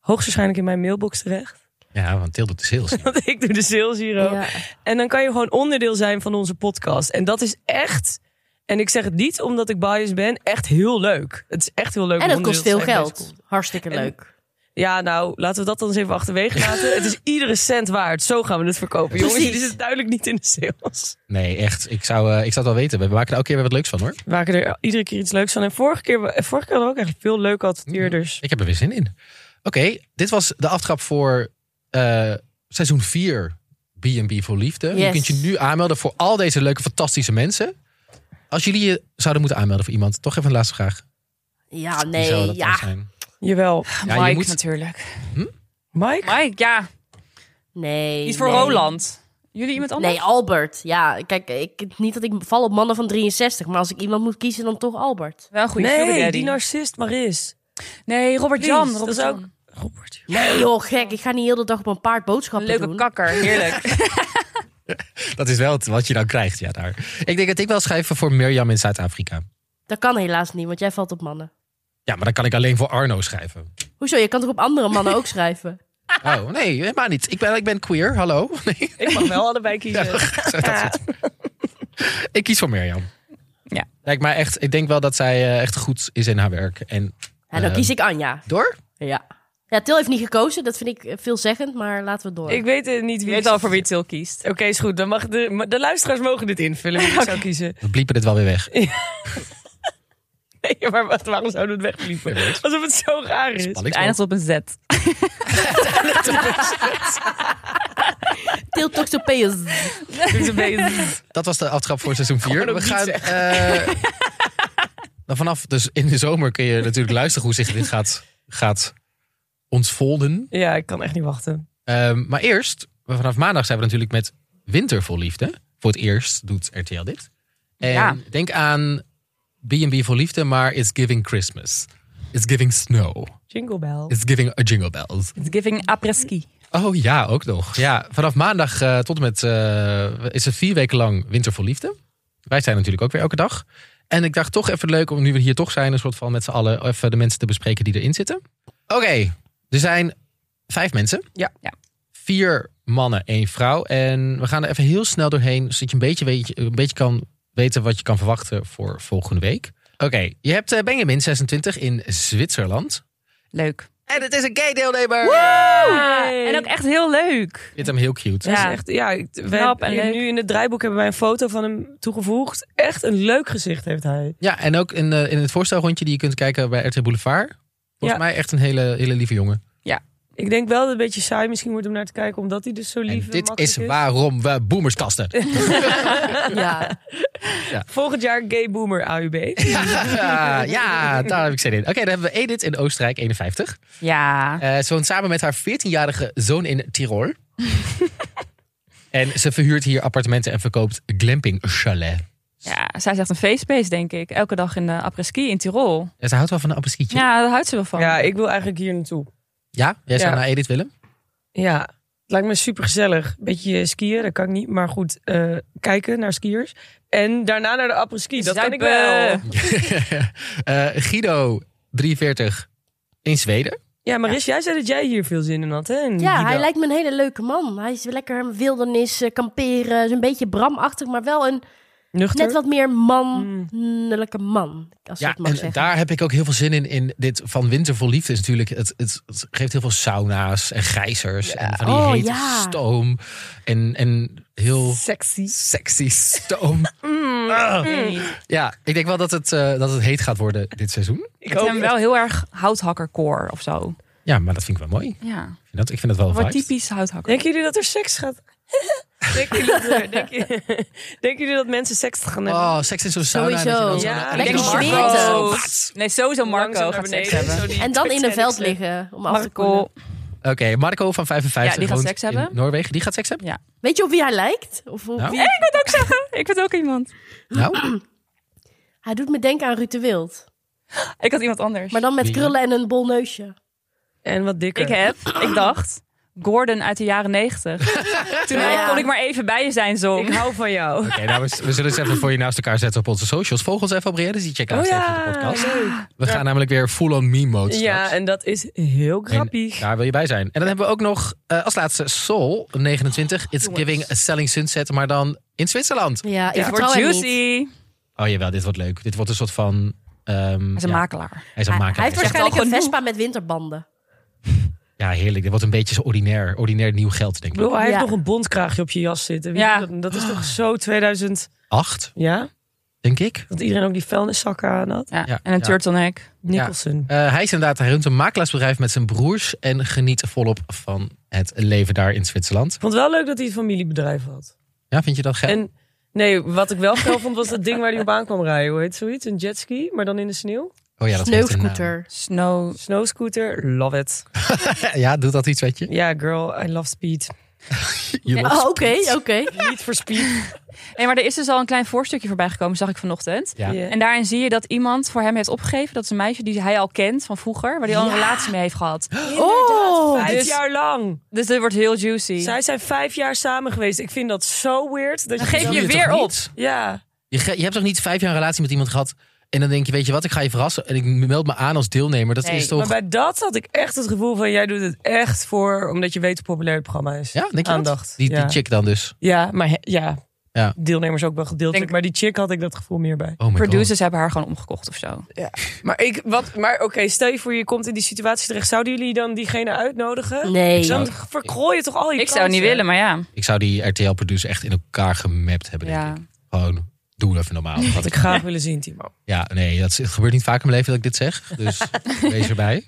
Speaker 4: hoogstwaarschijnlijk in mijn mailbox terecht. <laughs>
Speaker 1: ja, want Til doet de sales. niet.
Speaker 4: Want ik doe de sales hier ook.
Speaker 2: Ja.
Speaker 4: En dan kan je gewoon onderdeel zijn van onze podcast. En dat is echt, en ik zeg het niet omdat ik biased ben, echt heel leuk. Het is echt heel leuk.
Speaker 2: En
Speaker 4: om
Speaker 2: dat kost
Speaker 4: onderdeel te
Speaker 2: veel
Speaker 4: zijn van deze
Speaker 2: geld. Hartstikke leuk.
Speaker 4: Ja, nou, laten we dat dan eens even achterwege
Speaker 2: <laughs>
Speaker 4: laten. het is iedere cent waard. Zo gaan we het verkopen. Jongens,
Speaker 2: Precies.
Speaker 4: dit is duidelijk niet in de sales.
Speaker 1: Nee, echt. Ik zou, eh, ik zou het wel weten. We maken er elke keer weer wat leuks van hoor.
Speaker 4: We maken er iedere keer iets leuks van. En vorige keer, vorige keer hadden we ook echt veel leuke adverteerders.
Speaker 1: Ik heb er weer zin in. Oké, dit was de aftrap voor eh, seizoen 4 B&B voor Liefde. Je
Speaker 2: Yes.
Speaker 1: kunt je nu aanmelden voor al deze leuke, fantastische mensen. Als jullie je zouden moeten aanmelden voor iemand, toch even een laatste vraag. Wie
Speaker 2: Ja,
Speaker 1: zou
Speaker 2: nee,
Speaker 1: dat
Speaker 2: ja.
Speaker 1: dan zijn?
Speaker 4: Jawel.
Speaker 1: Ja, je
Speaker 3: Mike
Speaker 1: moet-
Speaker 3: natuurlijk.
Speaker 4: Mm-hmm. Mike?
Speaker 3: Mike, ja.
Speaker 2: Nee.
Speaker 3: Iets voor
Speaker 2: nee.
Speaker 3: Roland. Jullie iemand anders?
Speaker 2: Nee, Albert. Ja, kijk, ik, niet dat ik val op mannen van 63, maar als ik iemand moet kiezen, dan toch Albert.
Speaker 3: Wel een goede sugar
Speaker 4: Nee,
Speaker 3: daddy.
Speaker 4: die narcist Maris.
Speaker 3: Nee, Robert
Speaker 4: Please,
Speaker 3: Jan.
Speaker 4: dat
Speaker 3: Robert
Speaker 4: is
Speaker 3: Jan.
Speaker 4: ook- Robert.
Speaker 2: Nee joh, gek. Ik ga niet heel de dag op een paard
Speaker 3: Een
Speaker 2: boodschappen
Speaker 3: leuke
Speaker 2: doen.
Speaker 3: kakker. Heerlijk.
Speaker 1: Dat is wel het- wat je dan krijgt, ja daar. Ik denk dat ik wel schrijven voor Mirjam in Zuid-Afrika.
Speaker 2: Dat kan helaas niet, want jij valt op mannen.
Speaker 1: Ja, maar dan kan ik alleen voor Arno
Speaker 2: <laughs>
Speaker 1: schrijven.
Speaker 2: Hoezo? Je kan toch op andere mannen ook schrijven?
Speaker 1: Oh, nee, helemaal niet. Ik ben, ik ben queer, hallo. <laughs> Nee,
Speaker 4: Ik mag wel allebei kiezen.
Speaker 1: zeg dat soort. Ik kies voor Mirjam.
Speaker 3: Ja.
Speaker 1: Lijkt mij echt, ik denk wel dat zij eh, echt goed is in haar werk. En
Speaker 2: En dan
Speaker 1: Eh.
Speaker 2: kies ik Anja.
Speaker 1: door?
Speaker 2: Ja. Ja, Til heeft niet gekozen. Dat vind ik eh, veelzeggend, maar laten we door.
Speaker 4: <laughs> Ik weet eh, niet
Speaker 3: Je
Speaker 4: wie.
Speaker 3: weet al voor wie Til kiest.
Speaker 4: Oké, is goed. Dan mag de, maar de luisteraars mogen dit invullen wie <laughs> ik zou kiezen.
Speaker 1: We bliepen dit wel weer weg.
Speaker 4: Nee, maar wat, waarom zouden we het wegliepen? Alsof Dus het zo raar is.
Speaker 1: Spanning.
Speaker 3: Het eindigt op een Z.
Speaker 2: <laughs> Til Toxopeus.
Speaker 3: <laughs>
Speaker 4: Doe ze mee.
Speaker 1: Dat was de aftrap voor seizoen 4.
Speaker 4: ook
Speaker 1: We
Speaker 4: niet
Speaker 1: gaan. eh, <laughs> dan vanaf, dus in de zomer kun je natuurlijk luisteren hoe zich dit gaat, gaat ontvolden.
Speaker 4: Ja, ik kan echt niet wachten.
Speaker 1: Ehm, maar eerst, vanaf maandag zijn we natuurlijk met Winter vol Liefde. Voor het eerst doet RTL dit. En
Speaker 3: Ja.
Speaker 1: denk aan B&B vol Liefde, maar It's Giving Christmas. It's Giving Snow.
Speaker 4: Jingle bell.
Speaker 1: It's Giving a Jingle Bells.
Speaker 3: It's giving après ski.
Speaker 1: Oh ja, ook nog. Ja, vanaf maandag eh, tot en met eh, is het vier weken lang Winter voor Liefde. Wij zijn natuurlijk ook weer elke dag. En ik dacht toch even leuk om nu we hier toch zijn, een soort van met z'n allen even de mensen te bespreken die erin zitten. Oké, er zijn vijf mensen.
Speaker 4: Ja.
Speaker 3: Ja.
Speaker 1: Vier mannen, één vrouw. En we gaan er even heel snel doorheen, zodat je een beetje, weet, een beetje kan weten wat je kan verwachten voor volgende week. Oké, je hebt eh, Benjamin, 26, in Zwitserland.
Speaker 3: Leuk. Ah,
Speaker 1: En het is een gay deelnemer.
Speaker 4: Hey.
Speaker 3: En ook echt heel leuk.
Speaker 1: Ik vind hem heel cute.
Speaker 4: Ja,
Speaker 3: Ja.
Speaker 4: echt, ja ik- we
Speaker 3: Knap en
Speaker 4: hebben
Speaker 3: leuk.
Speaker 4: hier nu in het draaiboek hebben wij een foto van hem toegevoegd. Echt een leuk gezicht heeft hij.
Speaker 1: Ja, en ook in, eh, in het voorstelrondje die je kunt kijken bij RT Boulevard. Volgens
Speaker 4: Ja.
Speaker 1: mij echt een hele, hele lieve jongen.
Speaker 4: Ik denk wel dat het een beetje saai misschien wordt om naar te kijken, omdat hij dus zo lief
Speaker 1: en dit
Speaker 4: makkelijk
Speaker 1: is waarom we boomers kasten.
Speaker 4: <laughs>
Speaker 2: Ja.
Speaker 4: Volgend jaar gay boomer AUB.
Speaker 1: ja, ja, daar heb ik zin in. Oké, dan hebben we Edith in Oostenrijk, 51.
Speaker 3: Ja.
Speaker 1: Eh, ze woont samen met haar 14-jarige zoon in
Speaker 4: <laughs>
Speaker 1: Tirol. en ze verhuurt hier appartementen en verkoopt glamping chalet.
Speaker 3: ja. Zij is echt een feestbeest, denk ik. Elke dag in de après-ski in Tirol.
Speaker 1: En Eh, ze houdt wel van een appelschietje. Ja.
Speaker 3: Ja, daar houdt ze wel van.
Speaker 4: Ja, ik wil eigenlijk hier naartoe.
Speaker 1: Jij zou
Speaker 4: Ja.
Speaker 1: naar Edith willen? <laughs>
Speaker 4: Ja, het lijkt me super gezellig. Beetje skiën, dat kan ik niet. Maar goed, eh, kijken naar skiers. En daarna naar de apres-ski, dat kan ik wel.
Speaker 3: Zuipen.
Speaker 1: Eh, Guido, 43, in Zweden.
Speaker 4: Ja, Maris, jij zei dat jij hier veel zin in had, hè? in
Speaker 2: Ja,
Speaker 4: Guido.
Speaker 2: hij lijkt me een hele leuke man. Hij is lekker wildernis, eh, kamperen, is een beetje bramachtig, maar wel een
Speaker 4: Nuchter.
Speaker 2: net wat meer mannelijke man. Als je
Speaker 1: Mm. Ja,
Speaker 2: dat mag
Speaker 1: en
Speaker 2: zeggen.
Speaker 1: daar heb ik ook heel veel zin in. In dit van Winter vol Liefde is natuurlijk. Het, het, het geeft heel veel sauna's en gijzers. En van die
Speaker 2: Oh,
Speaker 1: hete
Speaker 2: ja.
Speaker 1: stoom. En, en heel
Speaker 4: Sexy.
Speaker 1: sexy stoom. Ah.
Speaker 3: Nee.
Speaker 1: Ja, ik denk wel dat het, eh, dat het heet gaat worden dit seizoen.
Speaker 4: Ik
Speaker 3: Ik heb
Speaker 4: hoop
Speaker 3: hem wel heel erg houthakkerkoor of zo.
Speaker 1: Ja, maar dat vind ik wel mooi. Ik
Speaker 3: Ja.
Speaker 1: vind dat, ik vind dat wel
Speaker 3: Wordt
Speaker 1: een vibe.
Speaker 3: typisch houthakker.
Speaker 4: Denken jullie dat er seks gaat? <laughs> denken, jullie dat er- denken, <laughs> denken jullie dat mensen seks gaan hebben?
Speaker 1: Oh, seks in zo'n sauna. en dat je
Speaker 2: Sowieso.
Speaker 1: dan zo-
Speaker 4: Ja,
Speaker 1: en
Speaker 4: lekker
Speaker 1: dan-
Speaker 2: Marco.
Speaker 1: Marco.
Speaker 3: Nee, sowieso Marco
Speaker 4: Langzaam naar
Speaker 3: gaat seks
Speaker 4: beneden,
Speaker 3: hebben.
Speaker 4: zo die
Speaker 2: En dan in een
Speaker 4: Titanic
Speaker 2: veld
Speaker 4: scène.
Speaker 2: liggen om af te koelen.
Speaker 3: Marco.
Speaker 1: Oké, Marco van 55.
Speaker 3: Ja, die gaat
Speaker 1: woont
Speaker 3: seks
Speaker 1: in
Speaker 3: hebben.
Speaker 1: Noorwegen, die gaat seks hebben.
Speaker 2: Weet je op wie hij lijkt? Of op
Speaker 1: Nou.
Speaker 2: wie?
Speaker 3: En ik wil het ook zeggen. <laughs> Ik vind ook iemand.
Speaker 1: Nou,
Speaker 2: Hij doet me denken aan Ruud de Wild.
Speaker 3: Ik had iemand anders.
Speaker 2: Maar dan met
Speaker 1: Wie?
Speaker 2: krullen en een bol neusje.
Speaker 4: En wat dikker.
Speaker 3: Ik heb, ik dacht, Gordon uit de jaren <laughs> negentig. Toen
Speaker 2: Ja.
Speaker 3: hij kon ik maar even bij je zijn zong.
Speaker 4: Ik hou van jou.
Speaker 1: oké, nou, we, we zullen het even voor je naast elkaar zetten op onze socials. Volg ons even op Rieders. Die checken
Speaker 4: Oh
Speaker 1: naast
Speaker 4: ja,
Speaker 1: even de podcast.
Speaker 4: leuk.
Speaker 1: We gaan namelijk weer full-on meme-mode
Speaker 4: Ja, en dat is heel grappig.
Speaker 1: Daar wil je bij zijn. En dan hebben we ook nog eh, als laatste Sol 29. It's
Speaker 3: jongens.
Speaker 1: giving a selling sunset, maar dan in Zwitserland.
Speaker 2: Ja, ik
Speaker 3: Het wordt
Speaker 2: vertrouw hem niet.
Speaker 3: juicy.
Speaker 1: Oh jawel, dit wordt leuk. Dit wordt een soort van... ehm,
Speaker 3: Hij is een
Speaker 1: ja,
Speaker 3: makelaar.
Speaker 1: Hij is een
Speaker 2: Hij,
Speaker 1: maker.
Speaker 2: hij heeft
Speaker 3: Zegt
Speaker 2: waarschijnlijk
Speaker 3: al
Speaker 2: een
Speaker 3: genoeg.
Speaker 2: Vespa met winterbanden.
Speaker 1: Oh Ja, heerlijk. Dit wordt een beetje zo ordinair. Ordinair nieuw geld, denk
Speaker 4: Ik
Speaker 1: ik.
Speaker 4: bedoel, hij heeft
Speaker 2: Ja.
Speaker 4: nog een bondkraagje op je jas zitten. Wie
Speaker 3: Ja.
Speaker 4: doet Dat, dat is toch zo 2000...
Speaker 1: Acht,
Speaker 4: Ja?
Speaker 1: denk ik.
Speaker 4: Dat iedereen ook die vuilniszakken aan had.
Speaker 3: Ja.
Speaker 1: Ja,
Speaker 3: En een
Speaker 1: ja.
Speaker 3: turtleneck.
Speaker 4: Nicholson.
Speaker 1: Eh, hij is inderdaad, hij runt een makelaarsbedrijf met zijn broers en geniet volop van het leven daar in Zwitserland.
Speaker 4: Ik vond het wel leuk dat hij een familiebedrijf had.
Speaker 1: Ja, vind je dat geld?
Speaker 4: En nee, wat ik wel geil vond was dat ding waar hij op aan kwam rijden. Hoe heet zoiets? Een jetski, maar dan in de sneeuw.
Speaker 1: Oh ja, dat heeft een naam.
Speaker 2: Sneeuwscooter.
Speaker 3: Snow.
Speaker 4: Snowscooter, love it.
Speaker 1: Ja, doet dat iets, weet je?
Speaker 4: Ja, girl, I love speed.
Speaker 1: Je
Speaker 3: Ja.
Speaker 1: lost
Speaker 2: Oh, Oké, oké.
Speaker 4: Niet voor speed.
Speaker 3: Nee, maar er is dus al een klein voorstukje voorbij gekomen, zag ik vanochtend.
Speaker 1: Ja.
Speaker 4: Yeah.
Speaker 3: En daarin zie je dat iemand voor hem heeft opgegeven. Dat is een meisje die hij al kent van vroeger. Waar hij al een relatie mee heeft gehad.
Speaker 2: Oh,
Speaker 4: Vijf
Speaker 3: dus-
Speaker 4: jaar lang.
Speaker 3: Dus dit wordt heel juicy.
Speaker 4: Zij zijn vijf jaar samen geweest. Ik vind dat zo weird. Dat
Speaker 3: Dan
Speaker 4: je
Speaker 3: geef
Speaker 4: dan-
Speaker 3: je
Speaker 1: Wil
Speaker 3: weer
Speaker 1: toch
Speaker 3: op?
Speaker 1: niet?
Speaker 4: Ja,
Speaker 1: Je, ge- je hebt toch niet vijf jaar een relatie met iemand gehad. En dan denk je, weet je wat, ik ga je verrassen. En ik meld me aan als deelnemer. Dat
Speaker 3: Nee,
Speaker 1: is
Speaker 4: maar
Speaker 1: toch.
Speaker 4: bij dat had ik echt het gevoel van... jij doet het echt voor... omdat je weet hoe populair het programma is.
Speaker 1: Ja, denk je
Speaker 4: Aandacht.
Speaker 1: dat? Die,
Speaker 4: ja.
Speaker 1: die chick dan dus.
Speaker 4: Ja, maar he- ja.
Speaker 1: Ja.
Speaker 4: Deelnemers ook wel gedeeltelijk.
Speaker 3: Denk-
Speaker 4: Maar die chick had ik dat gevoel meer bij.
Speaker 1: Oh my god.
Speaker 3: Producers hebben haar gewoon omgekocht of zo.
Speaker 4: Maar, ik, wat, maar oké, stel je voor je komt in die situatie terecht. Zouden jullie dan diegene
Speaker 1: Mm.
Speaker 4: uitnodigen?
Speaker 2: nee.
Speaker 4: Dan
Speaker 1: zou-
Speaker 4: verkrooi je toch al je
Speaker 3: Ik zou het niet
Speaker 4: kansen?
Speaker 3: willen, maar ja.
Speaker 1: Ik zou die RTL-producer echt in elkaar gemapt hebben, denk
Speaker 3: ja.
Speaker 1: ik. Gewoon, doe even normaal.
Speaker 3: <laughs>
Speaker 4: Had ik graag willen zien, Timo.
Speaker 1: Ja, nee, dat is- het gebeurt niet vaak in mijn leven dat ik dit zeg.
Speaker 3: <laughs>
Speaker 1: Dus wees erbij.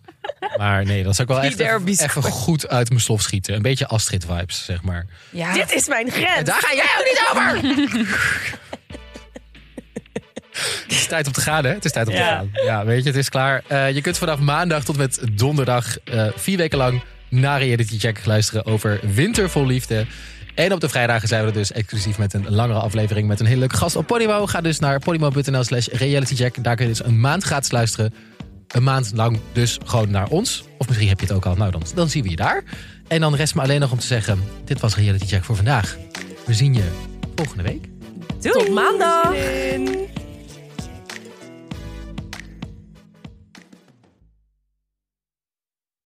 Speaker 1: Maar nee, dat zou ik wel echt
Speaker 4: Be there,
Speaker 1: even,
Speaker 4: be
Speaker 1: even goed uit mijn slof schieten. Een beetje Astrid-vibes, zeg maar.
Speaker 3: ja.
Speaker 4: Dit is mijn grens.
Speaker 1: Daar ga jij ook niet over! Het is tijd om te gaan, hè? Het is tijd om te
Speaker 4: Ja.
Speaker 1: gaan. Ja, weet je, het is klaar. Eh, je kunt vanaf maandag tot met donderdag eh, vier weken lang naar Reality Check luisteren over Winter vol Liefde. En op de vrijdagen zijn we er dus exclusief met een langere aflevering met een hele leuke gast op Podimo. Ga dus naar podimo.nl slash realitycheck. Daar kun je dus een maand gratis luisteren. Een maand lang dus gewoon naar ons. Of misschien heb je het ook al. Nou, dan, dan zien we je daar. En dan rest me alleen nog om te zeggen: dit was Reality Check voor vandaag. We zien je volgende week.
Speaker 3: Doei!
Speaker 2: Tot maandag!
Speaker 4: In.